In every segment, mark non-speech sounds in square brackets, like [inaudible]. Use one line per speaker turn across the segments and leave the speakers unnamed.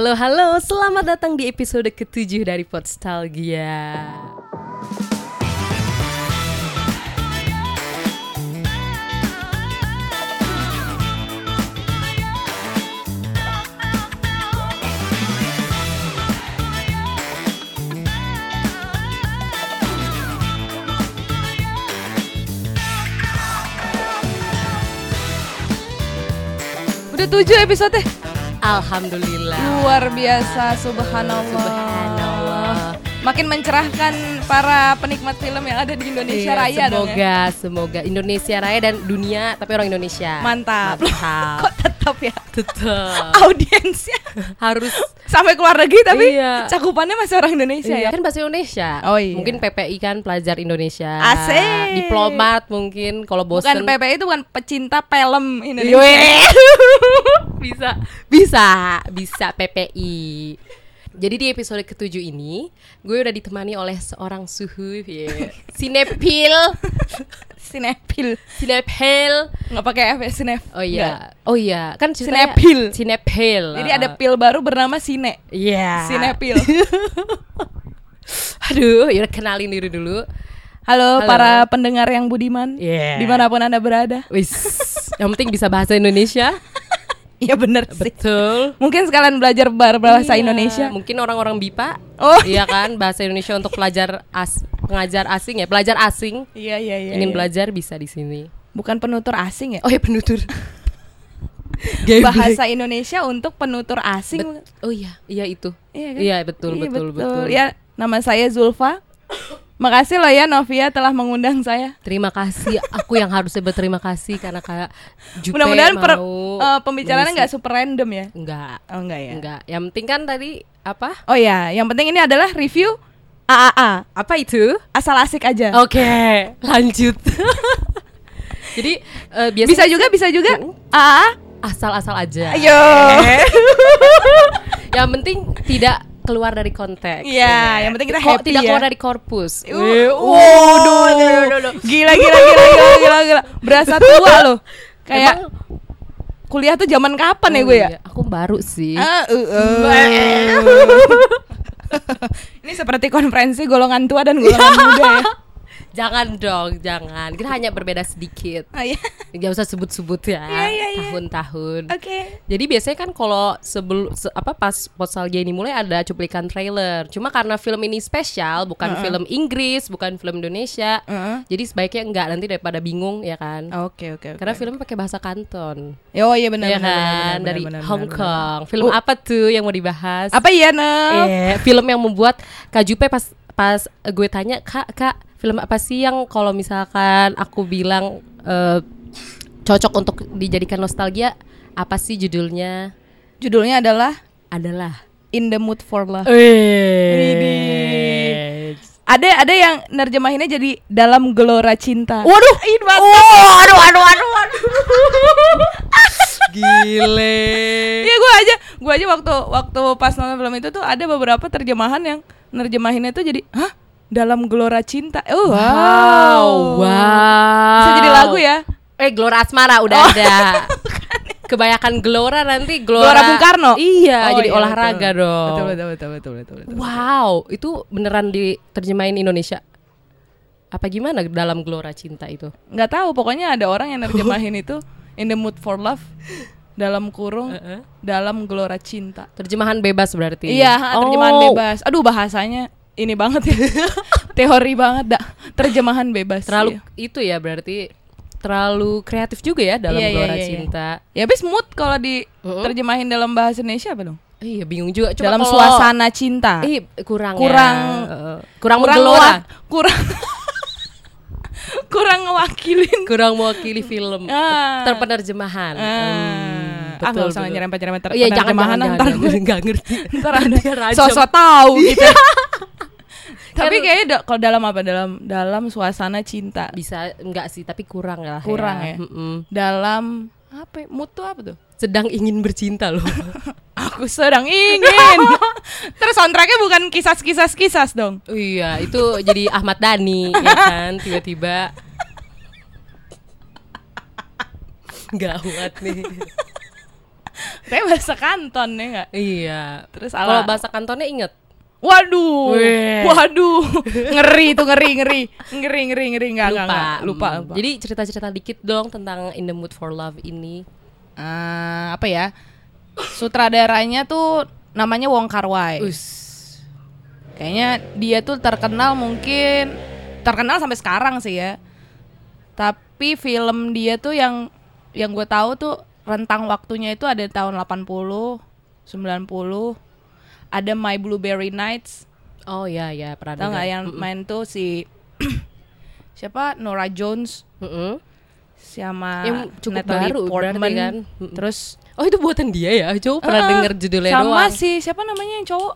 Halo, halo, selamat datang di episode ketujuh dari Podstalgia.
Udah tujuh episode
Alhamdulillah.
Luar biasa, subhanallah.
Subhanallah.
Makin mencerahkan para penikmat film yang ada di Indonesia
Iya,
Raya dong ya.
semoga, semoga Indonesia Raya dan dunia, tapi orang Indonesia.
Mantap.
Mantap.
Kok tetap ya?
Tetap
Audiensnya [laughs]
harus
sampai keluar negeri tapi
Iya.
cakupannya masih orang Indonesia
iya,
ya.
kan bahasa Indonesia.
Oh, iya.
Mungkin PPI kan pelajar Indonesia.
Asik.
Diplomat mungkin kalau
Bukan
bosen.
PPI itu bukan pecinta film Indonesia.
Weh. [laughs] bisa, bisa, bisa PPI. Jadi di episode ketujuh ini, gue udah ditemani oleh seorang suhu, ya.
[laughs]
yeah. sinepil,
Sinepil.
sinepil.
Nggak pakai F ya, sinep.
Oh
Nggak.
iya, oh iya, kan ceritanya
Sinepil.
sinepil.
Jadi ada pil baru bernama Sine.
Iya. [laughs]
Sinepil.
Aduh, ya kenalin diri dulu.
Halo,
Halo.
para pendengar yang budiman
Iya.
dimanapun anda berada.
Wis, yang penting bisa bahasa Indonesia.
Iya bener sih.
Betul.
Mungkin sekalian belajar bar- bahasa
Iya,
Indonesia.
Mungkin orang-orang bipa.
Oh.
Iya kan, bahasa Indonesia untuk pelajar as pengajar asing ya, pelajar asing
Iya iya iya.
ingin
iya.
belajar bisa di sini.
Bukan penutur asing
[laughs]
ya.
Oh ya penutur.
Bahasa Indonesia untuk penutur asing.
Iya, Bet- oh iya, iya itu.
Iya kan?
betul,
Iya,
betul, betul,
Ya, nama saya Zulfa. Makasih loh ya Novia telah mengundang saya.
Terima kasih, aku yang harusnya berterima kasih karena kayak Jupe
Mudah-mudahan per-
mau
eh, pembicaraannya nggak
mengisi-
super random ya.
enggak,
Oh enggak ya.
enggak. Yang penting kan tadi apa?
Oh ya, yang penting ini adalah review AAA.
Apa itu?
Asal asik aja.
Oke, lanjut. [laughs] Jadi eh, biasanya
Bisa Ah, iya. juga, bisa juga.
Oh.
AAA.
asal-asal aja.
Ayo.
[laughs] Yang penting tidak keluar dari konteks.
Iya, yang penting kita
Kok
happy
tidak
ya.
keluar dari korpus.
Uh,
Wih,
waduh, gila gila gila gila gila gila. Berasa tua loh. Kayak
Emang-
kuliah tuh zaman kapan ya
Oh
gue ya?
iya, Aku baru sih.
Ah, uh, uh. [laughs] Ini seperti konferensi golongan tua dan
[laughs]
golongan muda ya.
jangan dong, jangan. Kita hanya berbeda sedikit.
Oh, iya.
Gak usah sebut-sebut ya.
Iya, iya, iya.
Tahun-tahun.
Oke.
Jadi biasanya kan kalau sebelum se- apa pas Potsalgia ini mulai ada cuplikan trailer. Cuma karena film ini spesial, bukan film Inggris, bukan film Indonesia.
Heeh.
Jadi sebaiknya enggak nanti daripada bingung ya kan.
Oke oke. oke.
Karena filmnya pakai bahasa Kanton.
Oh iya benar
Iya
benar, benar,
kan
benar,
dari
benar,
Hong
benar, Oh.
Kong. Film apa tuh yang mau dibahas?
benar. Apa iya Nov?
Eh, [laughs] film yang membuat Kak Jupe pas pas gue tanya Kak Kak film apa sih yang kalau misalkan aku bilang eh, cocok untuk dijadikan nostalgia apa sih judulnya
Judulnya adalah
adalah
In the Mood for Love.
eh
Ada ada yang nerjemahinnya jadi dalam gelora cinta.
waduh
Ih, mantap.
aduh aduh aduh aduh gile
Iya gue aja, gue aja waktu waktu pas nonton film itu tuh ada beberapa terjemahan yang nerjemahinnya tuh jadi, hah? Dalam gelora cinta. Oh, wow.
wow wow
Bisa jadi lagu ya.
Eh Gelora Asmara udah ada. [laughs] Kebanyakan Gelora nanti Gelora,
Gelora Bung Karno.
Iya,
Oh,
jadi
iya,
olahraga
betul.
dong.
Betul betul betul betul betul. betul.
Wow, itu beneran diterjemahin Indonesia. Apa gimana dalam Gelora Cinta itu?
Nggak tahu, pokoknya ada orang yang nerjemahin itu in the mood for love dalam kurung
Heeh.
dalam gelora cinta.
Terjemahan bebas berarti.
Iya, ha, terjemahan
Oh,
bebas. Aduh bahasanya ini banget
[laughs]
ya. Teori banget dah. Terjemahan bebas.
Terlalu
Iya.
itu ya berarti terlalu kreatif juga ya dalam
Iya, iya,
Gelora
iya, iya.
Cinta.
Ya habis mood kalau diterjemahin dalam bahasa Indonesia apa dong?
Iya, bingung juga. Cuma
dalam
kalau-
suasana cinta.
Ih, kurang ya.
Kurang-
Heeh. kurang menggelora,
ngewak- kurang [laughs] kurang [laughs] ngewakilin.
kurang mewakili film
Ah.
terpenerjemahan. Hmm,
Ah, ah, nggak usah nyerempet-nyerempet ter-
Iya, jangan jangan
penerjemahan,
jangan,
ntar gue-
jangan, nggak ngerti.
[laughs] Ntar
Dia
ada
rajam.
sosok [laughs] tahu gitu. Tapi kayaknya da- kalau dalam apa dalam dalam suasana cinta,
bisa enggak sih, tapi kurang lah.
Kurang ya?
Mm-mm.
dalam apa? ya? Mood tuh apa tuh?
Sedang ingin bercinta
[laughs]
loh.
Aku sedang ingin. [laughs] Terus soundtracknya bukan kisas-kisas kisas dong.
Oh iya, itu [laughs] jadi Ahmad Dhani ya kan tiba-tiba. Gawat nih.
Saya bahasa Kanton ya nggak?
Iya.
Terus
Kalau
ala
bahasa kantonnya inget.
Waduh,
Weh.
waduh, [laughs] ngeri tuh ngeri ngeri ngeri ngeri ngeri nggak nggak
lupa.
nggak. lupa
Hmm.
lupa.
Jadi cerita-cerita dikit dong tentang In the Mood for Love ini.
Eh, apa ya sutradaranya tuh namanya Wong Kar Wai. Kayaknya dia tuh terkenal mungkin terkenal sampai sekarang sih ya. Tapi film dia tuh yang yang gue tahu tuh rentang waktunya itu ada tahun 80, 90, ada My Blueberry Nights.
Oh ya ya pernah
Tahu nggak
dengar.
yang main tuh si [clears throat] siapa Nora Jones
Mm-mm.
sama
Yang cukup baru berarti
Portman.
kan? Mm-mm.
Terus
Oh itu buatan dia ya? Coba pernah
Eh,
denger judulnya
sama
doang.
si siapa namanya yang cowok?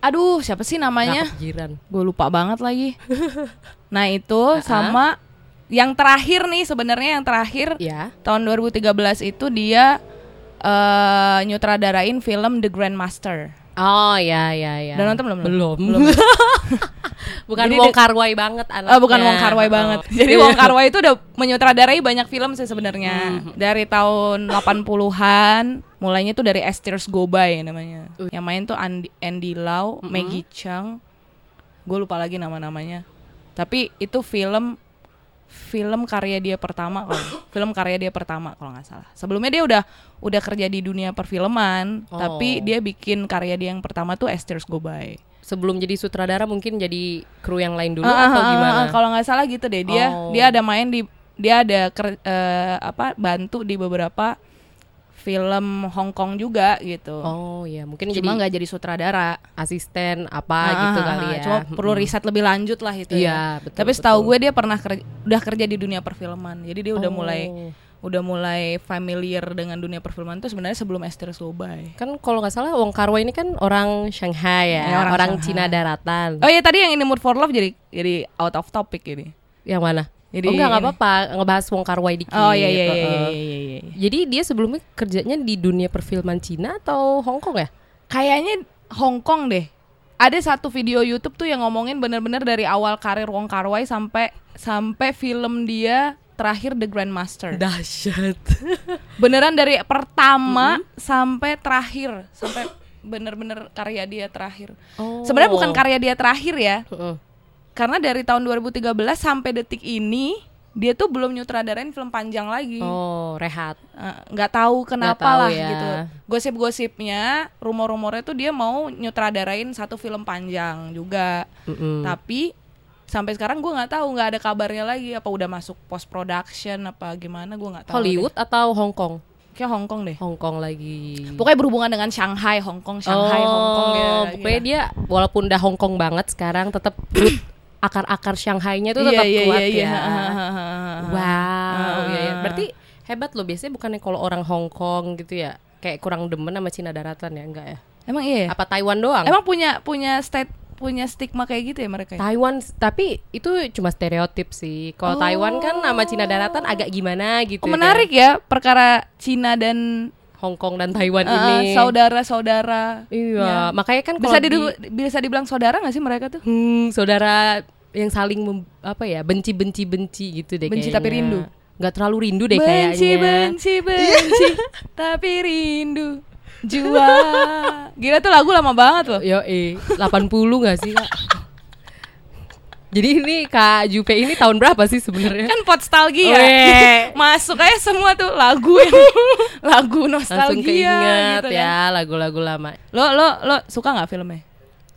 Aduh, siapa sih namanya?
Nah, kepikiran.
Gue lupa banget
[laughs]
lagi. nah, itu sama yang terakhir nih sebenarnya yang terakhir
Ya.
tahun 2013 itu dia eh nyutradarain film The Grandmaster.
Oh ya ya ya.
Udah nonton belum? ya?
Belum. [laughs] bukan
Jadi
Wong
dia-
Kar Wai banget anaknya.
Eh, bukan Wong Kar Wai
Oh.
banget. [laughs] Jadi Wong Kar Wai itu udah menyutradarai banyak film sih sebenarnya. Dari tahun 80-an, mulainya tuh dari Esther's Gobay namanya. Yang main tuh Andi, Andy Lau, Maggie Chung. Gue lupa lagi nama-namanya. Tapi itu film film karya dia pertama kalau film karya dia pertama kalau nggak salah sebelumnya dia udah udah kerja di dunia perfilman
Oh.
tapi dia bikin karya dia yang pertama tuh Esther's Gobay
Sebelum jadi sutradara mungkin jadi kru yang lain dulu
Ah,
atau
ah, ah,
gimana?
ah, Kalau nggak salah gitu deh dia
Oh.
dia ada main di dia ada ker- eh, apa bantu di beberapa film Hong Kong juga gitu.
Oh ya mungkin
Cuma
jadi
nggak jadi sutradara
asisten apa
Ah,
gitu
ah,
kali
ah,
ya.
Cuma perlu riset lebih lanjut lah itu.
Iya,
ya.
betul,
Tapi setahu
betul.
gue dia pernah kerja, udah kerja di dunia perfilman. Jadi dia udah
Oh.
mulai udah mulai familiar dengan dunia perfilman itu sebenarnya sebelum Esther Sobay.
Kan kalau nggak salah Wong Kar Wai ini kan orang Shanghai ya,
Ya,
orang,
orang Shanghai.
Cina daratan.
Oh iya tadi yang ini Mood for Love jadi jadi out of topic ini.
Yang mana?
Jadi
oh, enggak nggak
ini.
apa-apa ngebahas Wong Kar Wai dikit.
Oh iya iya iya
heeh.
iya iya iya. iya.
Jadi dia sebelumnya kerjanya di dunia perfilman Cina atau Hong Kong ya?
kayaknya Hong Kong deh. Ada satu video YouTube tuh yang ngomongin bener-bener dari awal karir Wong Kar Wai sampai sampai film dia terakhir The Grandmaster.
Dahsyat.
Beneran dari pertama sampai terakhir, sampai bener-bener karya dia terakhir.
Oh.
Sebenarnya bukan karya dia terakhir ya,
[laughs] Heeh.
karena dari tahun 2013 sampai detik ini dia tuh belum nyutradarain film panjang lagi.
Oh, rehat.
Eh, nggak tahu kenapa
tahu
lah
ya.
gitu gosip-gosipnya rumor-rumornya tuh dia mau nyutradarain satu film panjang juga
Mm-mm.
tapi sampai sekarang gua nggak tahu nggak ada kabarnya lagi apa udah masuk post production apa gimana gua nggak tahu
Hollywood atau Hong Kong?
deh. kayak Hong Kong deh
Hong Kong lagi.
pokoknya berhubungan dengan Shanghai Hong Kong Shanghai Hong Kong ya
Oh,
gitu.
Pokoknya dia walaupun udah Hong Kong banget sekarang tetap root [coughs] akar-akar Shanghai-nya tuh
Iya,
tetap
iya,
kuat
iya, [laughs] iya.
ya. Wow, iya, iya. berarti hebat loh biasanya bukannya kalau orang Hong Kong gitu ya kayak kurang demen sama Cina daratan ya enggak ya?
emang iya ya?
Apa Taiwan doang?
emang punya punya state punya stigma kayak gitu ya mereka ya?
Taiwan tapi itu cuma stereotip sih. Kalau Taiwan kan sama Cina daratan agak gimana gitu.
Oh,
ya,
menarik ya perkara Cina dan
kayak Hong Kong dan Taiwan
eh,
Kan ini.
saudara-saudara
Iya, makanya kan
Ya. bisa
kalau di-
didu- bisa dibilang saudara nggak sih mereka tuh
Hmm, saudara yang saling mem- apa ya benci-benci benci gitu deh.
Benci
kayaknya.
tapi rindu.
Nggak terlalu rindu deh kayaknya.
benci benci
[laughs]
benci tapi rindu jua gila tuh lagu lama banget loh
Yo, eh, 80 nggak sih kak? [laughs] Jadi ini Kak Jupe ini tahun berapa sih sebenarnya?
kan nostalgia
Weh.
[laughs] masuk aja semua tuh lagu
[laughs]
yang lagu Kan nostalgia
Langsung keinget
gitu kan.
ya lagu-lagu lama.
lo lo lo suka nggak filmnya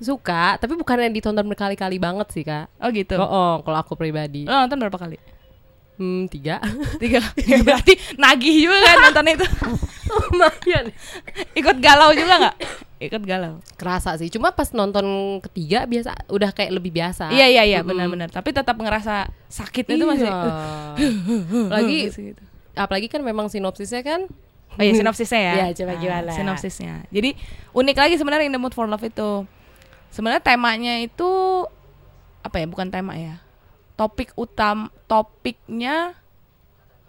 Suka, tapi bukan yang ditonton berkali-kali banget sih kak.
oh gitu
Oh, oh, kalau aku pribadi,
lo nonton berapa
[laughs]
kali
hmm, tiga.
tiga Ya, [laughs] berarti nagih juga kan nonton itu
Lumayan.
ikut galau juga nggak ikut galau
[laughs] Kerasa sih, cuma pas nonton ketiga biasa, udah kayak lebih biasa.
Iya iya iya benar-benar. Tapi tetap ngerasa sakitnya itu masih.
[laughs] Iya.
[laughs]
Lagi apalagi kan memang sinopsisnya kan
Oh iya sinopsisnya ya.
Iya, coba
Nah,
gimana?
Sinopsisnya. Jadi unik lagi sebenarnya In the Mood for Love itu. Sebenarnya temanya itu apa ya? Bukan tema ya. Topik utam topiknya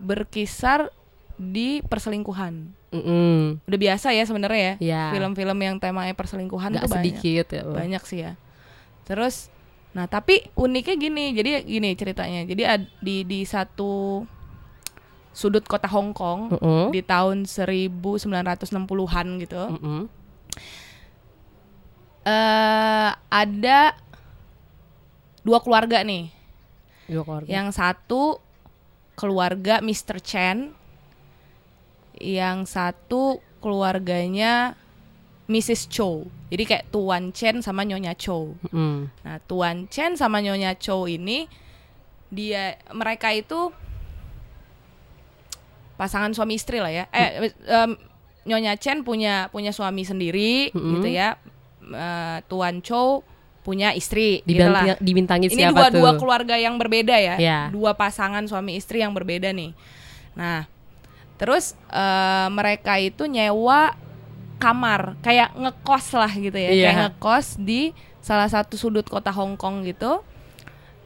berkisar di perselingkuhan.
mm
Udah biasa ya sebenarnya ya.
Iya.
Film-film yang temanya perselingkuhan
nggak
tuh banyak.
sedikit ya.
banyak sih ya terus nah tapi uniknya gini jadi gini ceritanya jadi ad- di di satu sudut kota Hong Kong
Mm-mm.
di tahun 1960-an gitu.
Mm-mm.
eh ada dua keluarga nih.
Dua keluarga.
Yang satu keluarga Mr. Chen. Yang satu keluarganya Mrs. Chow. Jadi kayak Tuan Chen sama Nyonya Chow.
Mm-mm.
Nah, Tuan Chen sama Nyonya Chow ini dia mereka itu pasangan suami istri lah ya. Eh em, Nyonya Chen punya punya suami sendiri
Mm-mm.
gitu ya. Eh, Tuan Chow punya istri gitu
Dibintang,
lah.
dibintangi
Ini
siapa
dua
tuh?
dua keluarga yang berbeda ya.
Iya.
Dua pasangan suami istri yang berbeda nih. Nah, terus eh, mereka itu nyewa kamar kayak ngekos lah gitu
Iya.
ya kayak ngekos di salah satu sudut kota Hong Kong gitu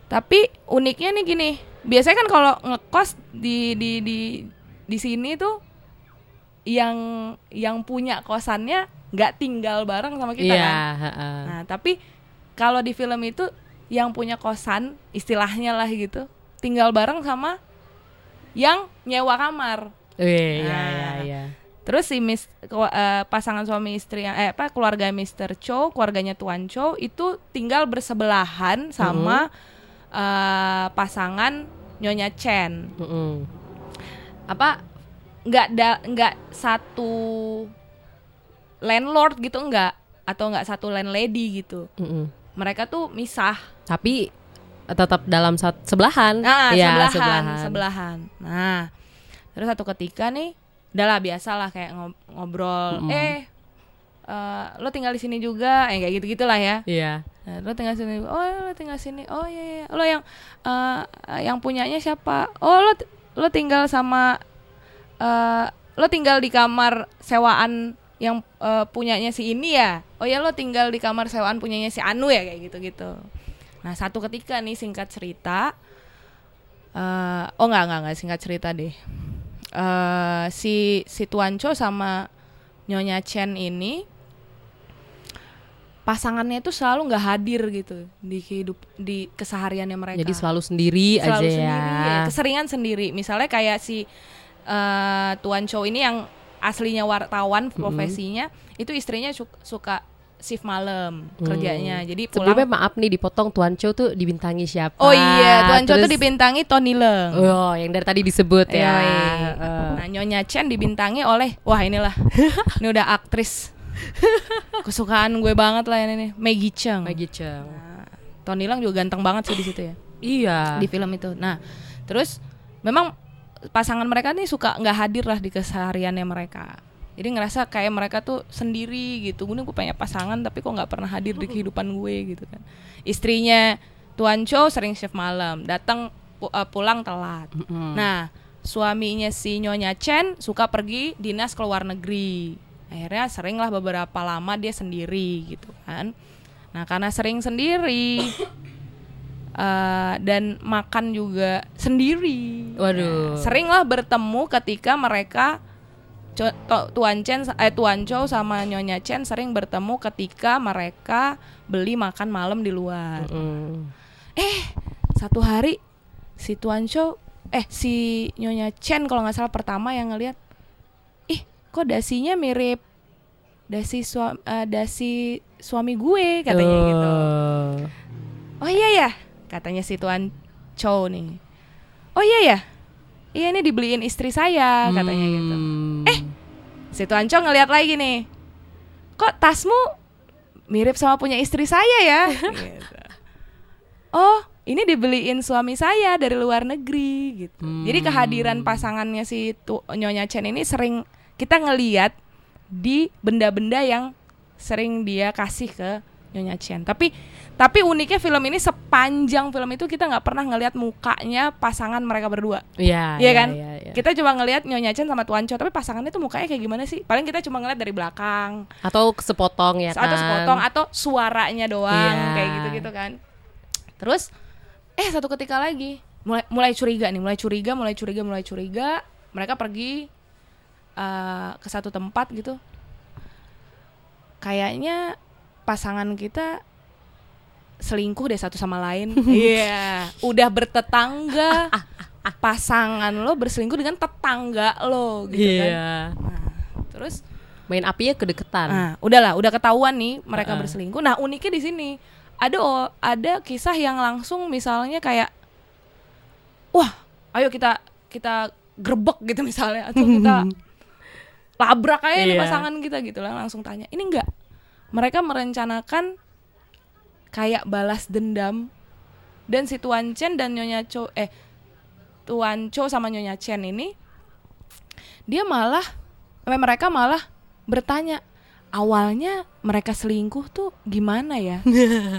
tapi uniknya nih gini biasanya kan kalau ngekos di di di di sini tuh yang yang punya kosannya nggak tinggal bareng sama kita
Iya,
kan
heeh.
nah tapi kalau di film itu yang punya kosan istilahnya lah gitu tinggal bareng sama yang nyewa kamar
Iya, iya, iya, iya.
Terus si mis, kelu- eh, pasangan suami istri yang eh apa keluarga Mr. Cho, keluarganya Tuan Cho itu tinggal bersebelahan sama eh, pasangan Nyonya Chen.
Mm-mm.
Apa nggak da, nggak satu landlord gitu enggak atau nggak satu landlady gitu.
Mm-mm.
Mereka tuh misah.
Tapi eh, tetap dalam sat- sebelahan.
Nah,
Iya,
sebelahan, sebelahan, Nah, terus satu ketika nih, udah lah biasalah kayak ngob- ngobrol,
Mm-mm.
eh eh, lo tinggal di sini juga, eh kayak gitu gitulah ya.
Iya.
Nah, lo tinggal sini, oh ya, lo tinggal sini, oh iya, iya. lo yang eh, eh, yang punyanya siapa? Oh lo t- lo tinggal sama eh, lo tinggal di kamar sewaan yang eh, punyanya si ini ya? Oh ya lo tinggal di kamar sewaan punyanya si Anu ya kayak gitu gitu. Nah satu ketika nih singkat cerita, eh, oh nggak nggak nggak singkat cerita deh. Eh, si si Tuanco sama Nyonya Chen ini pasangannya itu selalu nggak hadir gitu di hidup di kesehariannya mereka
Jadi selalu sendiri
selalu
aja
sendiri
ya.
ya. keseringan sendiri misalnya kayak si eh, tuan Chow ini yang aslinya wartawan profesinya itu istrinya su- suka shift malam kerjanya jadi
Mm.
pulang
Sebelumnya maaf nih dipotong Tuan Cho tuh dibintangi siapa?
oh iya tuan Chow
Ah, Terus-
tuh dibintangi Iya, Tony Leung
Oh, yang dari tadi disebut ya.
Yoi.
Heeh.
Nah, Nyonya Chen dibintangi oleh wah
[laughs]
inilah. ini udah aktris. Kesukaan gue banget lah ini nih, Maggie Cheung.
Maggie Cheung.
Nah, Tony Leung juga ganteng banget sih di situ ya.
Iya.
di film itu. Nah, terus memang pasangan mereka nih suka nggak hadir lah di kesehariannya mereka. Jadi ngerasa kayak mereka tuh sendiri gitu. Gue gue punya pasangan tapi kok nggak pernah hadir di kehidupan gue gitu kan. Istrinya Tuan Cho sering shift malam, datang pu- eh, pulang telat. Nah, suaminya si Nyonya Chen suka pergi dinas ke luar negeri. Akhirnya seringlah beberapa lama dia sendiri gitu kan. Nah, karena sering sendiri eh, dan makan juga sendiri.
Waduh.
Nah, seringlah bertemu ketika mereka Co- to- Tuan Chen eh Tuan Chow sama Nyonya Chen sering bertemu ketika mereka beli makan malam di luar
Mm.
eh satu hari si Tuan Cho eh si Nyonya Chen kalau nggak salah pertama yang ngelihat ih kok dasinya mirip dasi suami dasi suami gue katanya gitu
Oh.
oh iya ya katanya si Tuan Cho nih oh iya ya iya ini dibeliin istri saya katanya gitu
Hmm.
si Tuan Cho ngelihat lagi nih kok tasmu mirip sama punya istri saya ya Gitu. oh ini dibeliin suami saya dari luar negeri gitu jadi kehadiran pasangannya si Tu- Nyonya Chen ini sering kita ngeliat di benda-benda yang sering dia kasih ke Nyonya Chen tapi tapi uniknya film ini sepanjang film itu kita nggak pernah ngelihat mukanya pasangan mereka berdua
Iya.
Iya kan?
Iya, iya.
Kita cuma ngelihat Nyonya Chen sama Tuan Cho, tapi pasangannya tuh mukanya kayak gimana sih? Paling kita cuma ngelihat dari belakang,
Atau sepotong ya kan.
atau
[laughs]
sepotong, atau suaranya doang,
Iya.
kayak gitu-gitu kan. Terus, eh satu ketika lagi, mulai mulai curiga nih, mulai curiga, mulai curiga, mulai curiga. Mereka pergi eh, ke satu tempat gitu. Kayaknya pasangan kita [laughs] selingkuh deh satu sama lain. Iya. Udah bertetangga, pasangan lo berselingkuh dengan tetangga lo gitu kan.
Iya.
Nah, terus
Main apinya kedeketan.
Nah, udahlah, udah ketahuan nih mereka
Heeh.
berselingkuh. Nah, uniknya di sini ada o- ada kisah yang langsung misalnya kayak wah, ayo kita kita gerbek gitu misalnya atau kita labrak aja
Iya.
nih pasangan kita gitu lah langsung tanya. Ini enggak. Mereka merencanakan kayak balas dendam dan si Tuan Chen dan Nyonya Cho eh Tuan Cho sama Nyonya Chen ini dia malah eh, mereka malah bertanya awalnya mereka selingkuh tuh gimana ya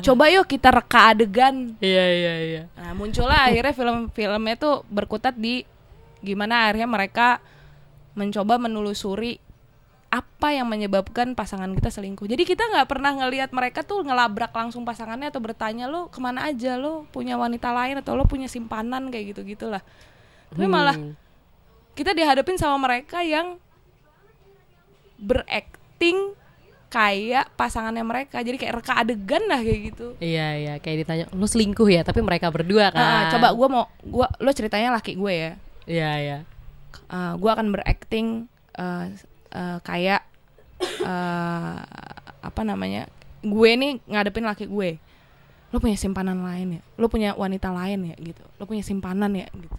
coba yuk kita reka adegan
Iya iya iya.
nah muncullah akhirnya film-filmnya tuh berkutat di gimana akhirnya mereka mencoba menelusuri apa yang menyebabkan pasangan kita selingkuh jadi kita nggak pernah ngelihat mereka tuh ngelabrak langsung pasangannya atau bertanya lo kemana aja lo punya wanita lain atau lo punya simpanan kayak gitu gitulah tapi malah
Hmm.
kita dihadapin sama mereka yang berakting kayak pasangannya mereka jadi kayak reka adegan lah kayak gitu
Iya iya kayak ditanya lu selingkuh ya tapi mereka berdua kan.
Ah, coba gue mau gua lo ceritanya laki gue ya
Iya iya.
Ah, gue akan berakting eh, eh, kayak eh, apa namanya gue nih ngadepin laki gue lo punya simpanan lain ya lo punya wanita lain ya gitu lo punya simpanan ya gitu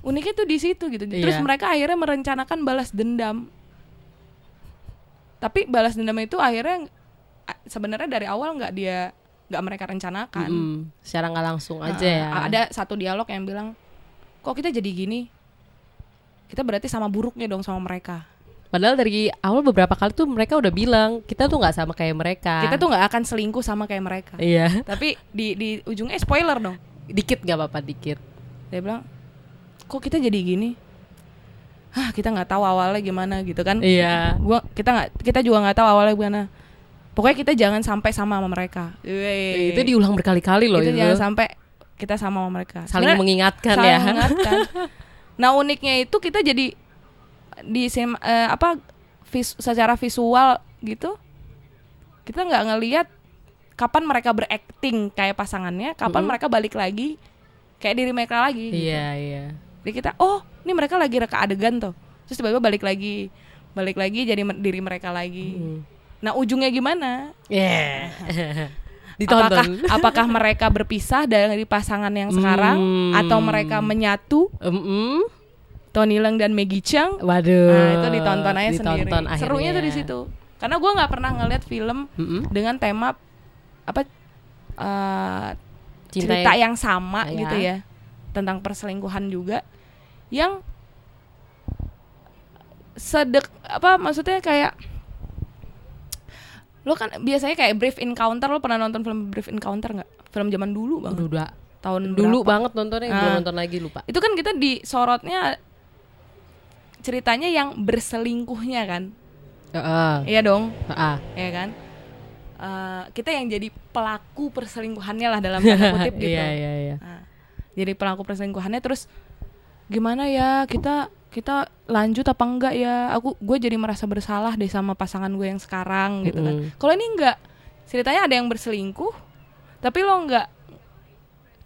uniknya tuh di situ gitu terus
Iya.
mereka akhirnya merencanakan balas dendam tapi balas dendam itu akhirnya eh, sebenarnya dari awal nggak dia nggak mereka rencanakan
Mm-mm. Secara nggak langsung
Nah,
aja ya.
Kan. Ada satu dialog yang bilang, kok kita jadi gini? Kita berarti sama buruknya dong sama mereka.
Padahal dari awal beberapa kali tuh mereka udah bilang kita tuh nggak sama kayak mereka.
Kita tuh nggak akan selingkuh sama kayak mereka.
Ah. Iya.
Tapi di di ujungnya eh, spoiler dong.
Dikit nggak apa-apa dikit.
Dia bilang, kok kita jadi gini? Hah, kita nggak tahu awalnya gimana gitu kan?
Iya.
Gua kita nggak kita juga nggak tahu awalnya gimana. Pokoknya kita jangan sampai sama sama mereka.
Eh, Itu diulang berkali-kali loh
itu
itu.
jangan sampai kita sama sama mereka.
Saling
Sebenarnya-
mengingatkan
Saling
ya.
mengingatkan. nah uniknya itu kita jadi di sinem- eh, apa vis- secara visual gitu kita nggak ngelihat kapan mereka berakting kayak pasangannya, kapan mereka balik lagi kayak diri mereka lagi. gitu.
Iya iya.
Jadi kita oh ini mereka lagi reka adegan tuh, terus tiba-tiba balik lagi, balik lagi jadi men- diri mereka lagi.
Hmm.
Nah ujungnya gimana?
Yeah.
[laughs] Apakah
iya. Ditonton.
apakah mereka berpisah dari pasangan yang sekarang
Hmm.
atau mereka menyatu?
Mm-mm.
Tony Leung dan Maggie Cheung
Waduh.
Nah, itu ditonton aja sendiri.
Ditonton akhirnya.
Serunya tuh di situ. Karena gue nggak pernah ngeliat film
Mm-mm.
dengan tema apa eh,
Cinta
cerita yang sama
Ya.
gitu ya tentang perselingkuhan juga yang sedek apa maksudnya kayak lo kan biasanya kayak Brief Encounter lo pernah nonton film Brief Encounter nggak film zaman dulu bang
Aduh, udah
tahun
dulu
berapa?
banget nontonnya
Ah.
belum nonton lagi lupa.
itu kan kita disorotnya ceritanya yang berselingkuhnya kan
Heeh.
Iya dong,
Heeh.
ya kan. Eh, kita yang jadi pelaku perselingkuhannya lah dalam
[laughs]
tanda kutip gitu.
Iya iya iya.
Nah, jadi pelaku perselingkuhannya terus gimana ya kita kita lanjut apa enggak ya? Aku gue jadi merasa bersalah deh sama pasangan gue yang sekarang gitu kan.
Mm-mm.
Kalau ini enggak ceritanya ada yang berselingkuh, tapi lo enggak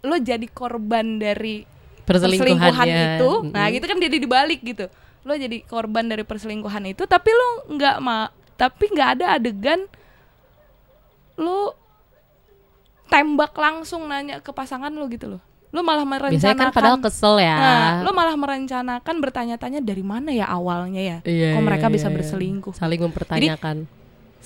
lo jadi korban dari perselingkuhan
Perselingkuhannya.
itu
iya.
nah
Mm-mm.
gitu kan jadi dibalik gitu lo jadi korban dari perselingkuhan itu tapi lo nggak ma tapi nggak ada adegan lo tembak langsung nanya ke pasangan lo gitu loh lo malah
Biasanya kan
merencanakan
padahal kesel ya.
Nah, lo malah merencanakan bertanya-tanya dari mana ya awalnya ya
Iya,
kok
iya,
mereka
iya,
bisa
iya.
berselingkuh Uh.
Saling mempertanyakan.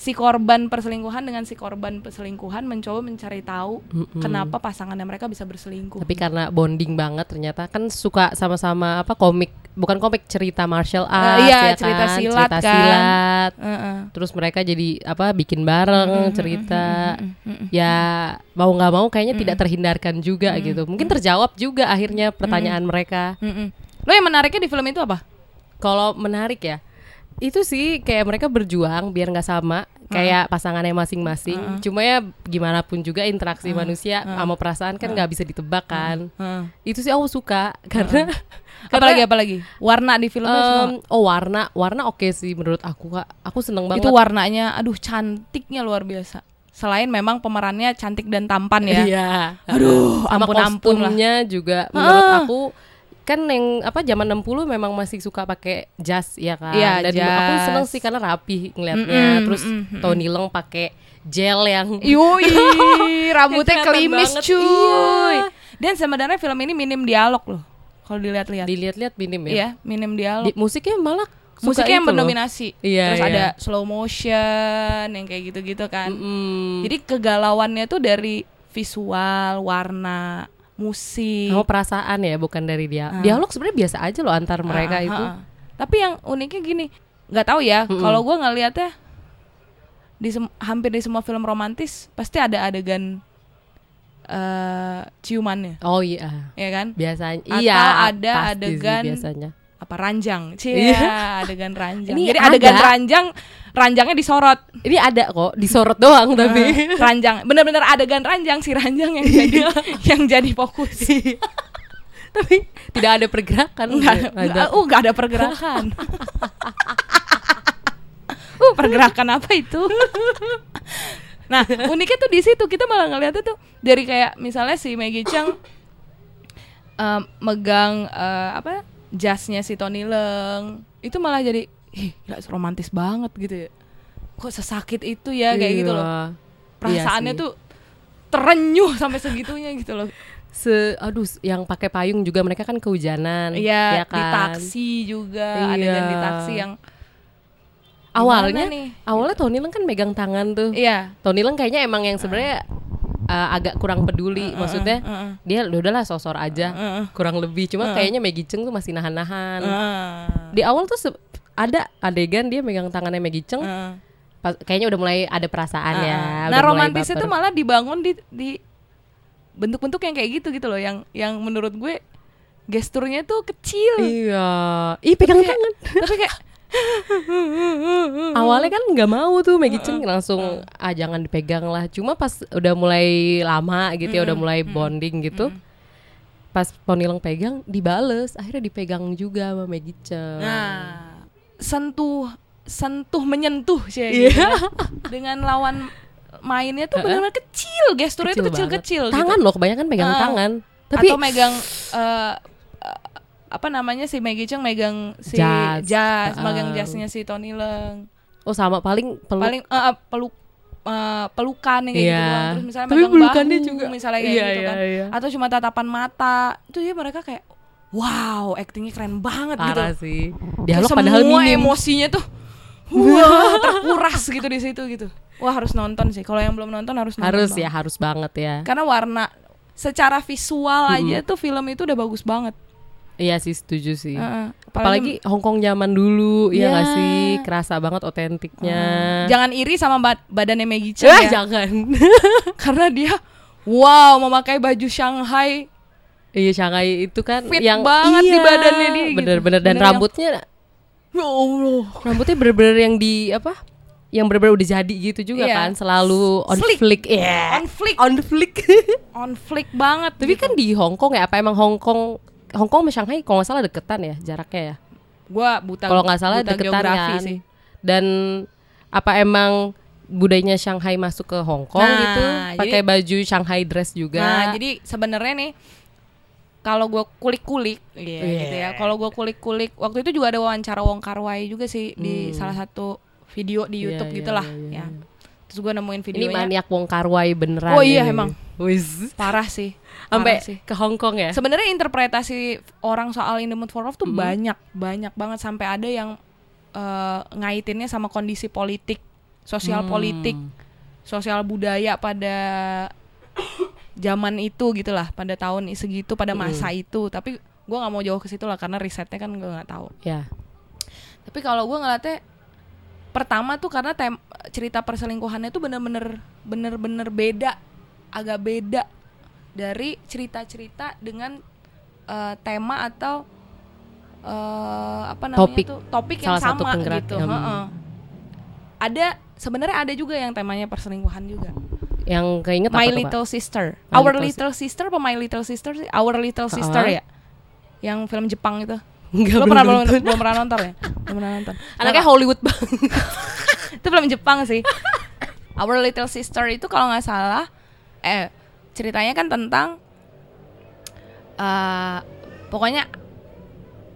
si korban perselingkuhan dengan si korban perselingkuhan mencoba mencari tahu
Mm-mm.
kenapa pasangannya mereka bisa berselingkuh
Tapi karena bonding banget ternyata kan suka sama-sama apa komik, bukan komik cerita martial arts
iya,
ya
cerita
kan?
silat
cerita
kan.
silat.
Heeh.
Terus mereka jadi apa bikin bareng cerita. Ya mau nggak mau kayaknya tidak terhindarkan juga gitu. Mungkin terjawab juga akhirnya pertanyaan mereka.
Mm-mm. Lo yang menariknya di film itu apa?
Kalau menarik ya, itu sih kayak mereka berjuang biar nggak sama kayak pasangannya masing-masing. Cuma ya gimana pun juga interaksi manusia sama perasaan kan nggak bisa ditebak kan. Itu sih aku suka [laughs] karena
Apalagi apalagi? Eh, Warna di film lo
Em,
semua.
oh warna warna oke sih menurut aku kak. Aku seneng banget.
itu warnanya aduh cantiknya luar biasa. Selain memang pemerannya cantik dan tampan ya.
Iya.
Aduh,
Sama
ampun-ampun lah.
kostumnya juga menurut
Ah.
aku kan yang apa zaman 60 memang masih suka pakai jas ya kan.
Iya,
Dan aku
jas.
seneng sih karena rapi ngelihatnya.
Mm-mm, Iya.
Terus
mm-mm,
Tony Long pakai gel yang
Yui,
[laughs]
rambutnya
Yang kelihatan
kelimis
banget,
cuy.
iya.
Dan sebenarnya film ini minim dialog loh. Kalau dilihat-lihat.
dilihat-lihat minim ya.
Iya, minim dialog.
Di- musiknya malah suka
Musiknya yang
itu loh.
mendominasi.
Iya,
Terus
iya.
ada slow motion yang kayak gitu-gitu kan.
Mm-mm.
Jadi kegalauannya tuh dari visual, warna, musik.
Kamu perasaan ya bukan dari dia. Dialog sebenarnya biasa aja loh antar mereka
Ah,
itu.
ah, ah. Tapi yang uniknya gini, nggak tahu ya. Kalau gua ngelihatnya di sem- hampir di semua film romantis pasti ada adegan eh ciumannya,
Oh iya.
ya kan?
Biasanya
Atau
iya.
ada
pasti sih
adegan-
biasanya.
Apa ranjang? Cie,
Iya. [laughs]
adegan ranjang.
Ini
Jadi adegan
ada.
ranjang, ranjangnya
[laughs]
disorot.
Ini ada kok disorot
[laughs]
doang tapi.
Eh, ranjang, bener-bener adegan ranjang si ranjang yang
[laughs]
jadi yang jadi fokus.
tapi tidak ada pergerakan Nggak
Enggak, enggak, uh, enggak Kan ada pergerakan. uh, pergerakan apa itu? [laughs] nah, uniknya tuh di situ kita malah ngeliatnya tuh dari kayak misalnya si Maggie Chang eh, megang eh, apa jasnya si Tony Leung itu malah jadi ih gila, romantis banget gitu ya. Kok sesakit itu ya kayak gitu loh.
Iya.
Perasaannya
Iya sih.
tuh terenyuh sampai segitunya gitu loh.
se aduh yang pakai payung juga mereka kan kehujanan
Iya,
ya kan
di taksi juga,
Iya.
adegan di taksi yang
awalnya
Gimana nih?
awalnya Tony Leng kan megang tangan tuh
iya.
Tony Leng kayaknya emang yang sebenarnya uh, agak kurang peduli maksudnya
heeh.
dia ya udahlah sosor aja
Heeh.
kurang lebih cuma kayaknya Maggie Cheung tuh masih nahan-nahan
Heeh.
di awal tuh se- ada adegan dia megang tangannya Maggie Cheung
Heeh.
pas- kayaknya udah mulai ada perasaan ya
nah,
udah mulai baper.
romantisnya tuh malah dibangun di di bentuk-bentuk yang kayak gitu gitu loh yang yang menurut gue gesturnya tuh
[laughs]
kecil.
iya ih pegang tangan
Tapi
[laughs]
kayak
awalnya kan nggak mau tuh Maggie Cheung langsung ah jangan dipegang lah cuma pas udah mulai lama gitu ya udah mulai bonding gitu pas Ponilang pegang dibales akhirnya dipegang juga sama Maggie Cheung
nah, sentuh sentuh menyentuh sih
Iya.
ya, gitu ya. dengan lawan mainnya tuh benar-benar kecil, gesturnya tuh
banget.
kecil-kecil. gitu.
tangan loh kebanyakan pegang
Ah.
tangan tapi
atau megang eh, eh, apa namanya si Maggie Cheung megang si
Jas.
jas,
Heeh.
megang jasnya si Tony Leung.
oh sama paling peluk
Paling eh, eh, peluk eh, pelukan yang kayak
Iya.
gitu doang. Terus misalnya
Tapi
megang
pelukannya
bahu,
juga.
misalnya kayak
Iya,
gitu kan.
iya, iya.
Atau cuma tatapan mata. Itu ya mereka kayak wow, aktingnya keren banget gitu.
parah sih
Kayak
dialog
semua
padahal minim
emosinya
[laughs]
tuh wah, terkuras gitu di situ gitu. Wah, harus nonton sih. Kalau yang belum nonton harus nonton.
harus
banget.
ya harus banget ya
Karena warna secara visual aja tuh film itu udah bagus banget.
iya sih setuju sih
Heeh.
apalagi Hongkong zaman dulu ya
Iya.
nggak sih kerasa banget otentiknya
jangan iri sama ba- badannya Maggie Chan
Nah. [laughs] Eh,
ya.
jangan
[laughs] karena dia wow memakai baju Shanghai
Iya Shanghai itu kan
Fit
yang
banget di badannya dia gitu.
Bener-bener dan
Bener yang-
rambutnya
ya Allah
rambutnya bener-bener yang di apa? Yang bener-bener udah jadi gitu juga
Iya.
kan selalu on
Slick.
flick. Iya.
on flick
On flick. [laughs]
on flick banget
Tapi kan di Hong Kong ya apa emang Hong Kong Hong Kong sama Shanghai kalau nggak salah deketan ya jaraknya ya.
gue buta
Kalau nggak salah
buta
deketan
geografi
kan.
sih
Dan apa emang budayanya Shanghai masuk ke Hong Kong
Nah,
gitu?
jadi-
Pakai baju Shanghai dress juga.
nah jadi sebenarnya nih kalau gue kulik-kulik iya
Iya.
gitu ya kalau gue kulik-kulik waktu itu juga ada wawancara Wong Kar Wai juga sih di salah satu video
Hmm.
di
Iya,
YouTube
iya,
gitulah
iya, iya,
ya terus gue nemuin
ini
videonya
maniak Wong Kar Wai beneran.
ya. Oh iya,
ini.
emang.
Wis.
parah sih parah
Sampai
sih.
ke Hong Kong ya?
Sebenarnya interpretasi orang soal In the Mood for Love tuh banyak, banyak banget sampai ada yang eh, ngaitinnya sama kondisi politik, sosial politik, sosial budaya pada zaman itu gitulah, pada tahun segitu, pada masa itu. Tapi gue nggak mau jauh ke situ lah karena risetnya kan gue nggak tahu.
Ya.
Tapi kalau gue ngeliatnya pertama tuh karena tem- cerita perselingkuhannya tuh bener-bener bener-bener beda, agak beda dari cerita-cerita dengan eh, tema atau eh, apa namanya
Topik.
tuh topik yang
Salah satu
sama
penggerak
gitu.
yang-
heeh. Ada sebenarnya ada juga yang temanya perselingkuhan juga.
Yang keinget apa
My
tuh, Pak? [laughs]
Little Sister,
My
Our
Little Si-
Little Sister, apa My Little Sister sih? Our Little Sister
Heeh.
ya, yang film Jepang itu.
Enggak belum
Lo pernah belum,
tentu.
belum pernah nonton ya? Belum pernah nonton.
Anaknya Hollywood banget.
itu film Jepang sih. Our Little Sister itu kalau nggak salah, eh ceritanya kan tentang eh pokoknya